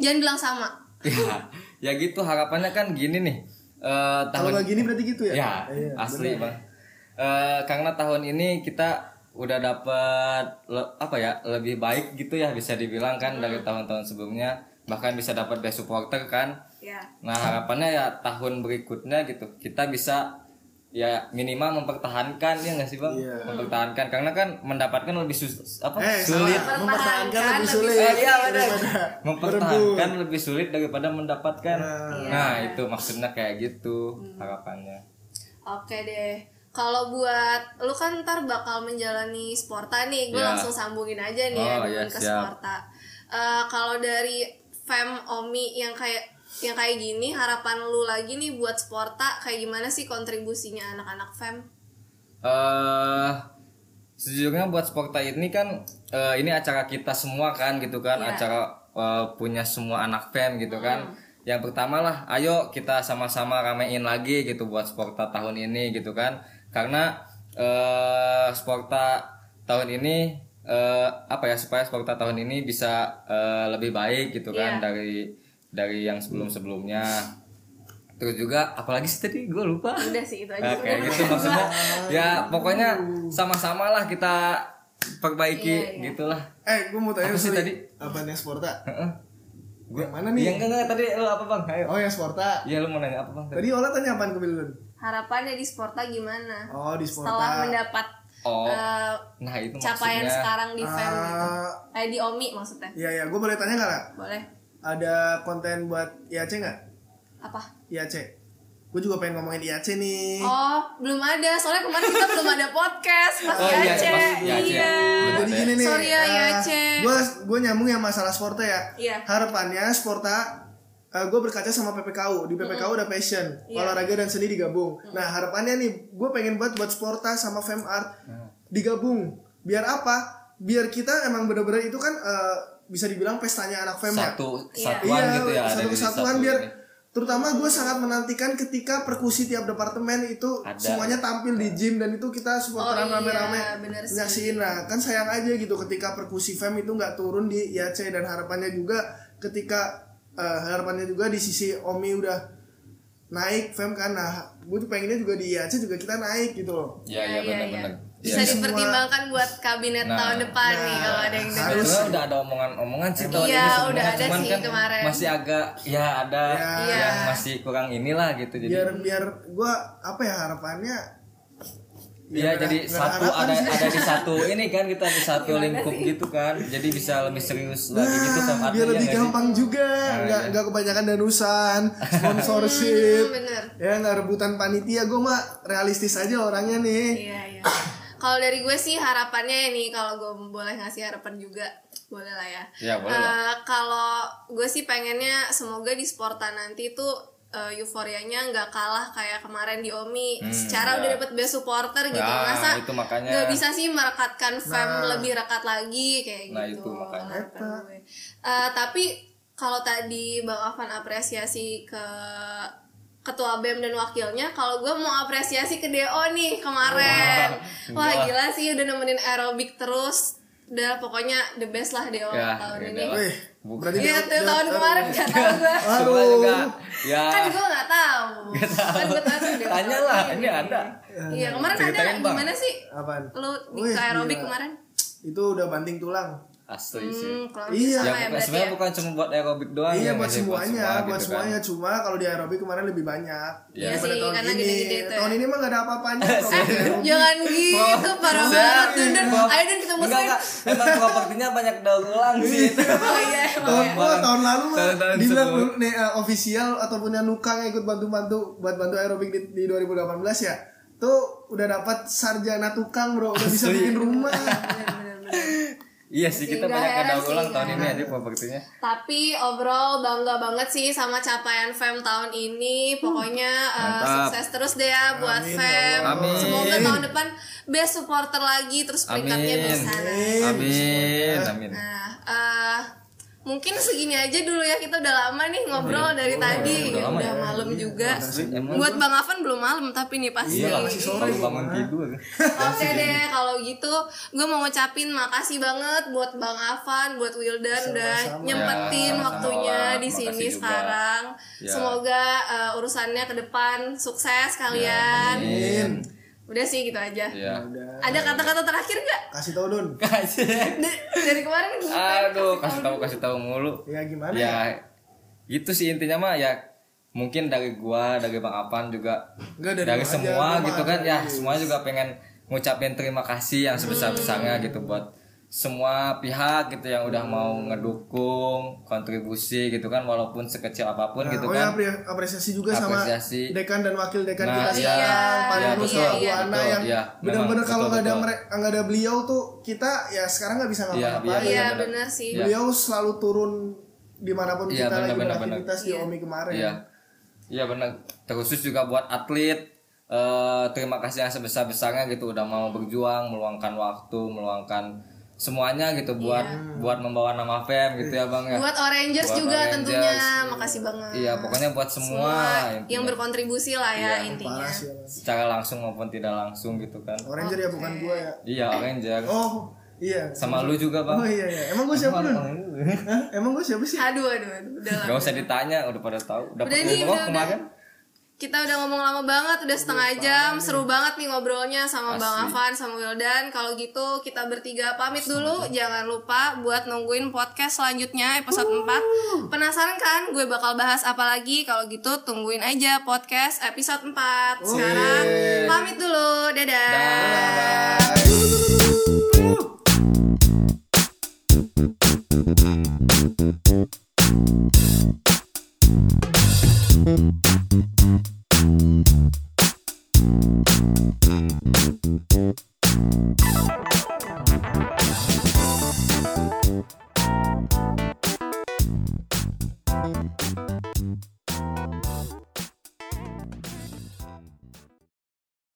[SPEAKER 1] Jangan bilang sama.
[SPEAKER 2] Ya, ya gitu harapannya kan gini nih. Eh tahun
[SPEAKER 3] kalau nggak gini berarti gitu ya
[SPEAKER 2] Ya,
[SPEAKER 3] Iya,
[SPEAKER 2] asli bang. Eh, karena tahun ini kita udah dapat le- apa ya lebih baik gitu ya bisa dibilang kan dari
[SPEAKER 3] Hmm.
[SPEAKER 2] tahun-tahun sebelumnya bahkan bisa dapat best supporter kan.
[SPEAKER 1] Ya.
[SPEAKER 2] Nah harapannya ya tahun berikutnya gitu kita bisa ya minimal mempertahankan ya nggak sih bang
[SPEAKER 3] Iya.
[SPEAKER 2] mempertahankan karena kan mendapatkan lebih sus- apa
[SPEAKER 3] eh
[SPEAKER 2] sulit
[SPEAKER 3] salah mempertahankan lebih
[SPEAKER 2] Eh,
[SPEAKER 3] sulit
[SPEAKER 2] iya, bener.
[SPEAKER 3] daripada
[SPEAKER 2] mempertahankan lebih sulit daripada mendapatkan
[SPEAKER 3] Iya.
[SPEAKER 2] nah itu maksudnya kayak gitu
[SPEAKER 3] Hmm.
[SPEAKER 2] harapannya
[SPEAKER 1] Oke deh. Kalau buat lu kan ntar bakal menjalani sporta nih, gue
[SPEAKER 2] Ya.
[SPEAKER 1] langsung sambungin aja nih ya
[SPEAKER 2] Oh,
[SPEAKER 1] Dun,
[SPEAKER 2] ya,
[SPEAKER 1] ke
[SPEAKER 2] siap.
[SPEAKER 1] sporta. Eh, kalau dari fam omi yang kayak yang kayak gini, harapan lu lagi nih buat sporta kayak gimana sih kontribusinya anak-anak fam?
[SPEAKER 2] eh sejujurnya buat Sporta ini kan eh, ini acara kita semua kan gitu kan
[SPEAKER 1] Iya.
[SPEAKER 2] acara eh, punya semua anak fam gitu kan yang pertama lah ayo kita sama-sama ramein lagi gitu buat Sporta tahun ini gitu kan karena eh Sporta tahun ini eh apa ya supaya Sporta tahun ini bisa eh, lebih baik gitu kan
[SPEAKER 1] Iya.
[SPEAKER 2] dari dari yang sebelum-sebelumnya. Terus juga apalagi sih tadi gue lupa.
[SPEAKER 1] udah sih itu
[SPEAKER 2] Nah,
[SPEAKER 1] aja
[SPEAKER 2] kayak gitu maksudnya ya pokoknya sama-sama lah kita
[SPEAKER 1] Iya,
[SPEAKER 2] perbaiki gitulah
[SPEAKER 3] Eh, gue mau tanya
[SPEAKER 2] Apa sih
[SPEAKER 3] sorry.
[SPEAKER 2] tadi?
[SPEAKER 3] Apaan yang Sporta?
[SPEAKER 2] Heeh.
[SPEAKER 3] Yang mana
[SPEAKER 1] Nah,
[SPEAKER 2] Iya
[SPEAKER 3] nih?
[SPEAKER 2] enggak enggak tadi lo apa bang ayo
[SPEAKER 3] Oh, yang Sporta.
[SPEAKER 2] iya lu mau nanya apa bang tadi?
[SPEAKER 3] Tadi Ola tanya apaan ke Bilun?
[SPEAKER 1] harapannya di Sporta gimana
[SPEAKER 3] Oh, di
[SPEAKER 1] setelah
[SPEAKER 3] Sporta.
[SPEAKER 1] mendapat
[SPEAKER 2] oh
[SPEAKER 1] eh,
[SPEAKER 2] nah itu
[SPEAKER 1] capaian
[SPEAKER 2] maksudnya
[SPEAKER 1] sekarang di fam gitu
[SPEAKER 3] Ah,
[SPEAKER 1] eh di Omi maksudnya
[SPEAKER 3] Iya, iya. Gue boleh tanya nggak? Ra?
[SPEAKER 1] boleh
[SPEAKER 3] Ada konten buat IAC nggak?
[SPEAKER 1] apa
[SPEAKER 3] IAC. Gue juga pengen ngomongin IAC nih.
[SPEAKER 1] oh belum ada soalnya kemarin kita belum ada podcast pas
[SPEAKER 2] Oh, iya,
[SPEAKER 1] Yace.
[SPEAKER 2] pas
[SPEAKER 1] iya
[SPEAKER 2] Yace.
[SPEAKER 1] iya
[SPEAKER 2] Belum
[SPEAKER 3] Jadi
[SPEAKER 2] ada.
[SPEAKER 3] gini nih.
[SPEAKER 1] Sorry ya, IAC.
[SPEAKER 3] Gue gue nyambung ya masalah Sporta ya.
[SPEAKER 1] Iya.
[SPEAKER 3] Harapannya Sporta gue berkaca sama PPKU di PPKU ada passion
[SPEAKER 1] Iya.
[SPEAKER 3] olahraga dan seni digabung. Nah harapannya nih gue pengen buat buat Sporta sama Fem Art digabung. Biar apa? Biar kita emang bener-bener itu kan eh, bisa dibilang pestanya anak Fem ya.
[SPEAKER 2] satu satuan
[SPEAKER 3] Iya,
[SPEAKER 2] gitu ya
[SPEAKER 3] satu
[SPEAKER 2] dari
[SPEAKER 3] kesatuan
[SPEAKER 2] satu
[SPEAKER 3] biar
[SPEAKER 2] ini.
[SPEAKER 3] terutama gue sangat menantikan ketika perkusi tiap departemen itu
[SPEAKER 2] Ada.
[SPEAKER 3] semuanya tampil di gym dan itu kita supporteran
[SPEAKER 1] Oh iya,
[SPEAKER 3] rame-rame
[SPEAKER 1] bener sih.
[SPEAKER 3] nyaksiin nah kan sayang aja gitu ketika perkusi fem itu nggak turun di IAC dan harapannya juga ketika eh, harapannya juga di sisi Omi udah naik fem kan nah gue tuh pengennya juga di IAC juga kita naik gitu loh
[SPEAKER 2] iya iya benar benar
[SPEAKER 1] bisa
[SPEAKER 3] Iya.
[SPEAKER 1] dipertimbangkan buat kabinet
[SPEAKER 2] Nah.
[SPEAKER 1] tahun depan nih
[SPEAKER 3] Nah.
[SPEAKER 1] kalau ada yang dengar
[SPEAKER 3] Harus.
[SPEAKER 2] Sebetulnya udah ada omongan-omongan sih tahun
[SPEAKER 1] Iya,
[SPEAKER 2] ini sebenarnya.
[SPEAKER 1] udah ada
[SPEAKER 2] Cuman
[SPEAKER 1] sih
[SPEAKER 2] kan
[SPEAKER 1] kemarin.
[SPEAKER 2] masih agak ya ada
[SPEAKER 1] Iya.
[SPEAKER 2] yang masih kurang inilah gitu jadi
[SPEAKER 3] biar biar gue apa ya harapannya
[SPEAKER 2] Iya
[SPEAKER 3] biar
[SPEAKER 2] jadi
[SPEAKER 3] nggak- nggak
[SPEAKER 2] satu
[SPEAKER 3] harapan
[SPEAKER 2] ada
[SPEAKER 3] sih.
[SPEAKER 2] ada di satu ini kan kita di satu lingkup gitu kan jadi bisa lebih serius lagi gitu sama
[SPEAKER 3] Ah,
[SPEAKER 2] artinya
[SPEAKER 3] biar lebih
[SPEAKER 2] nggak sih?
[SPEAKER 3] gampang juga nggak nggak kebanyakan danusan sponsorship
[SPEAKER 1] Hmm, bener
[SPEAKER 3] ya nggak rebutan panitia gue mah realistis aja orangnya nih
[SPEAKER 1] Iya, iya. Kalau dari gue sih harapannya ya nih kalau gue boleh ngasih harapan juga boleh lah ya.
[SPEAKER 2] Iya, boleh lah.
[SPEAKER 1] Eh, kalau gue sih pengennya semoga di Sporta nanti tuh eh, euforianya nggak kalah kayak kemarin di Omi. Secara
[SPEAKER 2] iya.
[SPEAKER 1] udah dapet best supporter gitu,
[SPEAKER 2] Nah,
[SPEAKER 1] masa
[SPEAKER 2] itu makanya.
[SPEAKER 1] nggak bisa sih merekatkan fam
[SPEAKER 3] Nah.
[SPEAKER 1] lebih rekat lagi kayak
[SPEAKER 2] Nah,
[SPEAKER 1] gitu.
[SPEAKER 2] itu makanya.
[SPEAKER 1] harapan gue. Eh, tapi kalau tadi Bang Afan apresiasi ke ketua BEM dan wakilnya, kalau gue mau apresiasi ke DO nih kemarin.
[SPEAKER 2] Wah,
[SPEAKER 1] Wah, gila
[SPEAKER 2] gila.
[SPEAKER 1] sih udah nemenin aerobik terus. Udah pokoknya the best lah DO
[SPEAKER 2] Ya,
[SPEAKER 1] tahun
[SPEAKER 2] ya,
[SPEAKER 1] ini.
[SPEAKER 2] DO.
[SPEAKER 3] Wih,
[SPEAKER 2] Bukan.
[SPEAKER 3] berarti
[SPEAKER 1] Iya, tuh
[SPEAKER 3] dia- dia-
[SPEAKER 1] tahun kemarin gak tau gue.
[SPEAKER 2] Semua
[SPEAKER 3] Aduh.
[SPEAKER 2] juga ya
[SPEAKER 1] Kan gue gak tahu. Kan gue tahu DO.
[SPEAKER 2] Tanya
[SPEAKER 1] tahun
[SPEAKER 2] lah, ini ada.
[SPEAKER 1] Iya, kemarin ada.
[SPEAKER 2] Ceritain, Bang.
[SPEAKER 1] Gimana sih?
[SPEAKER 3] apaan
[SPEAKER 1] Lu di
[SPEAKER 3] Wih,
[SPEAKER 1] ke aerobik
[SPEAKER 3] gila.
[SPEAKER 1] kemarin?
[SPEAKER 3] itu udah banting tulang
[SPEAKER 2] asli sih.
[SPEAKER 1] Hmm, kalau
[SPEAKER 3] Iya.
[SPEAKER 1] sama
[SPEAKER 2] Ya,
[SPEAKER 1] ya,
[SPEAKER 2] bukan,
[SPEAKER 1] berarti
[SPEAKER 2] sebenarnya
[SPEAKER 1] ya.
[SPEAKER 2] bukan cuma buat aerobik doang
[SPEAKER 3] iya
[SPEAKER 2] ya,
[SPEAKER 3] buat
[SPEAKER 2] nggak sih?
[SPEAKER 3] semuanya buat
[SPEAKER 2] gitu kan.
[SPEAKER 3] semuanya cuma kalau di aerobik kemarin lebih banyak
[SPEAKER 1] Iya
[SPEAKER 3] daripada
[SPEAKER 1] sih,
[SPEAKER 3] tahun
[SPEAKER 1] karena
[SPEAKER 3] ini
[SPEAKER 1] gede-gede tuh ya.
[SPEAKER 3] tahun ini mah gak ada apa-apanya
[SPEAKER 1] Eh, Jangan gitu,
[SPEAKER 3] Iya.
[SPEAKER 1] parah banget tuh Dan. Ayo Dan kita
[SPEAKER 2] Enggak,
[SPEAKER 1] muslim.
[SPEAKER 2] enggak. Emang propertinya banyak daur ulang sih.
[SPEAKER 1] Oh iya, emang
[SPEAKER 3] tahun,
[SPEAKER 1] ya.
[SPEAKER 3] wah, tahun lalu mah
[SPEAKER 2] Tahun-tahun
[SPEAKER 3] dibilang
[SPEAKER 2] sebelum.
[SPEAKER 3] dulu nih eh, official ataupun yang nukang yang ikut bantu-bantu buat bantu aerobik di, di 2018 ya tuh udah dapat sarjana tukang bro udah bisa bikin rumah
[SPEAKER 1] Bener-bener.
[SPEAKER 2] Iya sih kita
[SPEAKER 1] Nggak
[SPEAKER 2] banyak
[SPEAKER 1] heran
[SPEAKER 2] daur
[SPEAKER 1] sih,
[SPEAKER 2] ulang tahun
[SPEAKER 1] nggak
[SPEAKER 2] ini aja propertinya.
[SPEAKER 1] Tapi overall bangga banget sih sama capaian FEM tahun ini. Pokoknya eh,
[SPEAKER 2] Mantap.
[SPEAKER 1] sukses terus deh ya buat
[SPEAKER 3] Amin,
[SPEAKER 1] FEM.
[SPEAKER 3] ya
[SPEAKER 2] Allah.
[SPEAKER 1] Semoga
[SPEAKER 2] Amin.
[SPEAKER 1] tahun depan best supporter lagi terus peringkatnya
[SPEAKER 2] Amin.
[SPEAKER 1] bisa. Nah,
[SPEAKER 3] Eh,
[SPEAKER 2] Amin, amin.
[SPEAKER 1] Nah, eh, mungkin segini aja dulu ya kita udah lama nih ngobrol dari tadi. Ya,
[SPEAKER 2] Iya. udah lama
[SPEAKER 1] udah
[SPEAKER 2] ya.
[SPEAKER 1] malam juga.
[SPEAKER 2] Asli, emang.
[SPEAKER 1] Buat Bang Afan belum malam tapi nih pasti.
[SPEAKER 2] Iya lah,
[SPEAKER 3] masih sore.
[SPEAKER 2] baru bangun tidur.
[SPEAKER 1] Oke deh, kalau gitu gue mau ngucapin makasih banget buat Bang Afan, buat Wildan udah
[SPEAKER 3] Sama-sama.
[SPEAKER 1] nyempetin
[SPEAKER 2] Ya, sama-sama.
[SPEAKER 1] waktunya di sini
[SPEAKER 2] Makasih juga.
[SPEAKER 1] sekarang.
[SPEAKER 2] Ya.
[SPEAKER 1] Semoga eh, urusannya ke depan sukses kalian.
[SPEAKER 2] Amin.
[SPEAKER 1] udah sih gitu aja.
[SPEAKER 2] Iya.
[SPEAKER 3] udah
[SPEAKER 1] Ada kata-kata terakhir nggak
[SPEAKER 3] kasih tau don
[SPEAKER 2] Kasih.
[SPEAKER 1] D- dari kemarin? gitu.
[SPEAKER 2] Aduh, kasih tahu kasih tahu mulu.
[SPEAKER 3] ya gimana ya
[SPEAKER 2] Ya, gitu sih intinya mah ya mungkin dari gua, dari Bang Apan juga
[SPEAKER 3] Enggak, dari
[SPEAKER 2] dari,
[SPEAKER 3] gua aja,
[SPEAKER 2] semua
[SPEAKER 3] gua
[SPEAKER 2] gitu
[SPEAKER 3] mah
[SPEAKER 2] kan
[SPEAKER 3] ada
[SPEAKER 2] ya,
[SPEAKER 3] dari-
[SPEAKER 2] semua juga pengen ngucapin terima kasih yang sebesar-besarnya gitu buat semua pihak gitu yang udah mau ngedukung, kontribusi gitu kan walaupun sekecil apapun gitu
[SPEAKER 3] oh
[SPEAKER 2] kan.
[SPEAKER 3] ya apre- apresiasi juga
[SPEAKER 2] Apresiasi.
[SPEAKER 3] sama dekan dan wakil dekan
[SPEAKER 2] Nah,
[SPEAKER 3] kita
[SPEAKER 2] iya,
[SPEAKER 3] sekarang
[SPEAKER 1] iya,
[SPEAKER 3] Pak Nurul
[SPEAKER 1] betul,
[SPEAKER 3] sama Bu
[SPEAKER 1] iya,
[SPEAKER 3] Ana
[SPEAKER 2] betul,
[SPEAKER 3] yang
[SPEAKER 2] iya,
[SPEAKER 3] benar-benar
[SPEAKER 2] memang,
[SPEAKER 3] kalau nggak ada
[SPEAKER 2] betul,
[SPEAKER 3] mere- nggak ada beliau tuh kita ya sekarang nggak bisa ngapa-ngapain
[SPEAKER 1] Iya benar sih.
[SPEAKER 2] Iya.
[SPEAKER 3] beliau selalu turun dimanapun
[SPEAKER 2] Iya,
[SPEAKER 3] kita lagi
[SPEAKER 2] benar, benar,
[SPEAKER 3] beraktivitas di Omi kemarin
[SPEAKER 2] Iya. Iya benar. Terkhusus juga buat atlet eh terima kasih yang sebesar-besarnya gitu udah mau berjuang, meluangkan waktu, meluangkan semuanya gitu buat buat membawa nama FEM gitu ya Bang ya.
[SPEAKER 1] Buat Orangers
[SPEAKER 2] Buat
[SPEAKER 1] juga
[SPEAKER 2] Orangers.
[SPEAKER 1] tentunya. Makasih banget.
[SPEAKER 2] Iya, pokoknya buat semua, intinya. Iya,
[SPEAKER 1] yang berkontribusi lah ya intinya.
[SPEAKER 3] Parah sih emang.
[SPEAKER 2] secara langsung maupun tidak langsung gitu kan.
[SPEAKER 3] Oranger ya bukan gua ya.
[SPEAKER 2] Iya, Ranger.
[SPEAKER 3] Oh, iya.
[SPEAKER 2] Sama lu juga,
[SPEAKER 3] Oh
[SPEAKER 2] Bang.
[SPEAKER 3] iya iya. Emang gua siapa Dun? Hah? Emang gua siapa sih?
[SPEAKER 1] Aduh aduh aduh. Udah lah.
[SPEAKER 2] Gak usah ditanya, udah pada tahu. Dapat
[SPEAKER 1] Udah nih,
[SPEAKER 2] umroh
[SPEAKER 1] udah,
[SPEAKER 2] kemarin.
[SPEAKER 1] Kita udah ngomong lama banget, udah setengah jam, seru banget nih ngobrolnya sama Bang Afan, sama Wildan. Kalau gitu kita bertiga pamit dulu, jangan lupa buat nungguin podcast selanjutnya episode 4. Penasaran kan gue bakal bahas apa lagi? Kalau gitu tungguin aja podcast episode 4. Sekarang pamit dulu, dadah.
[SPEAKER 2] Dah.
[SPEAKER 3] Aduh.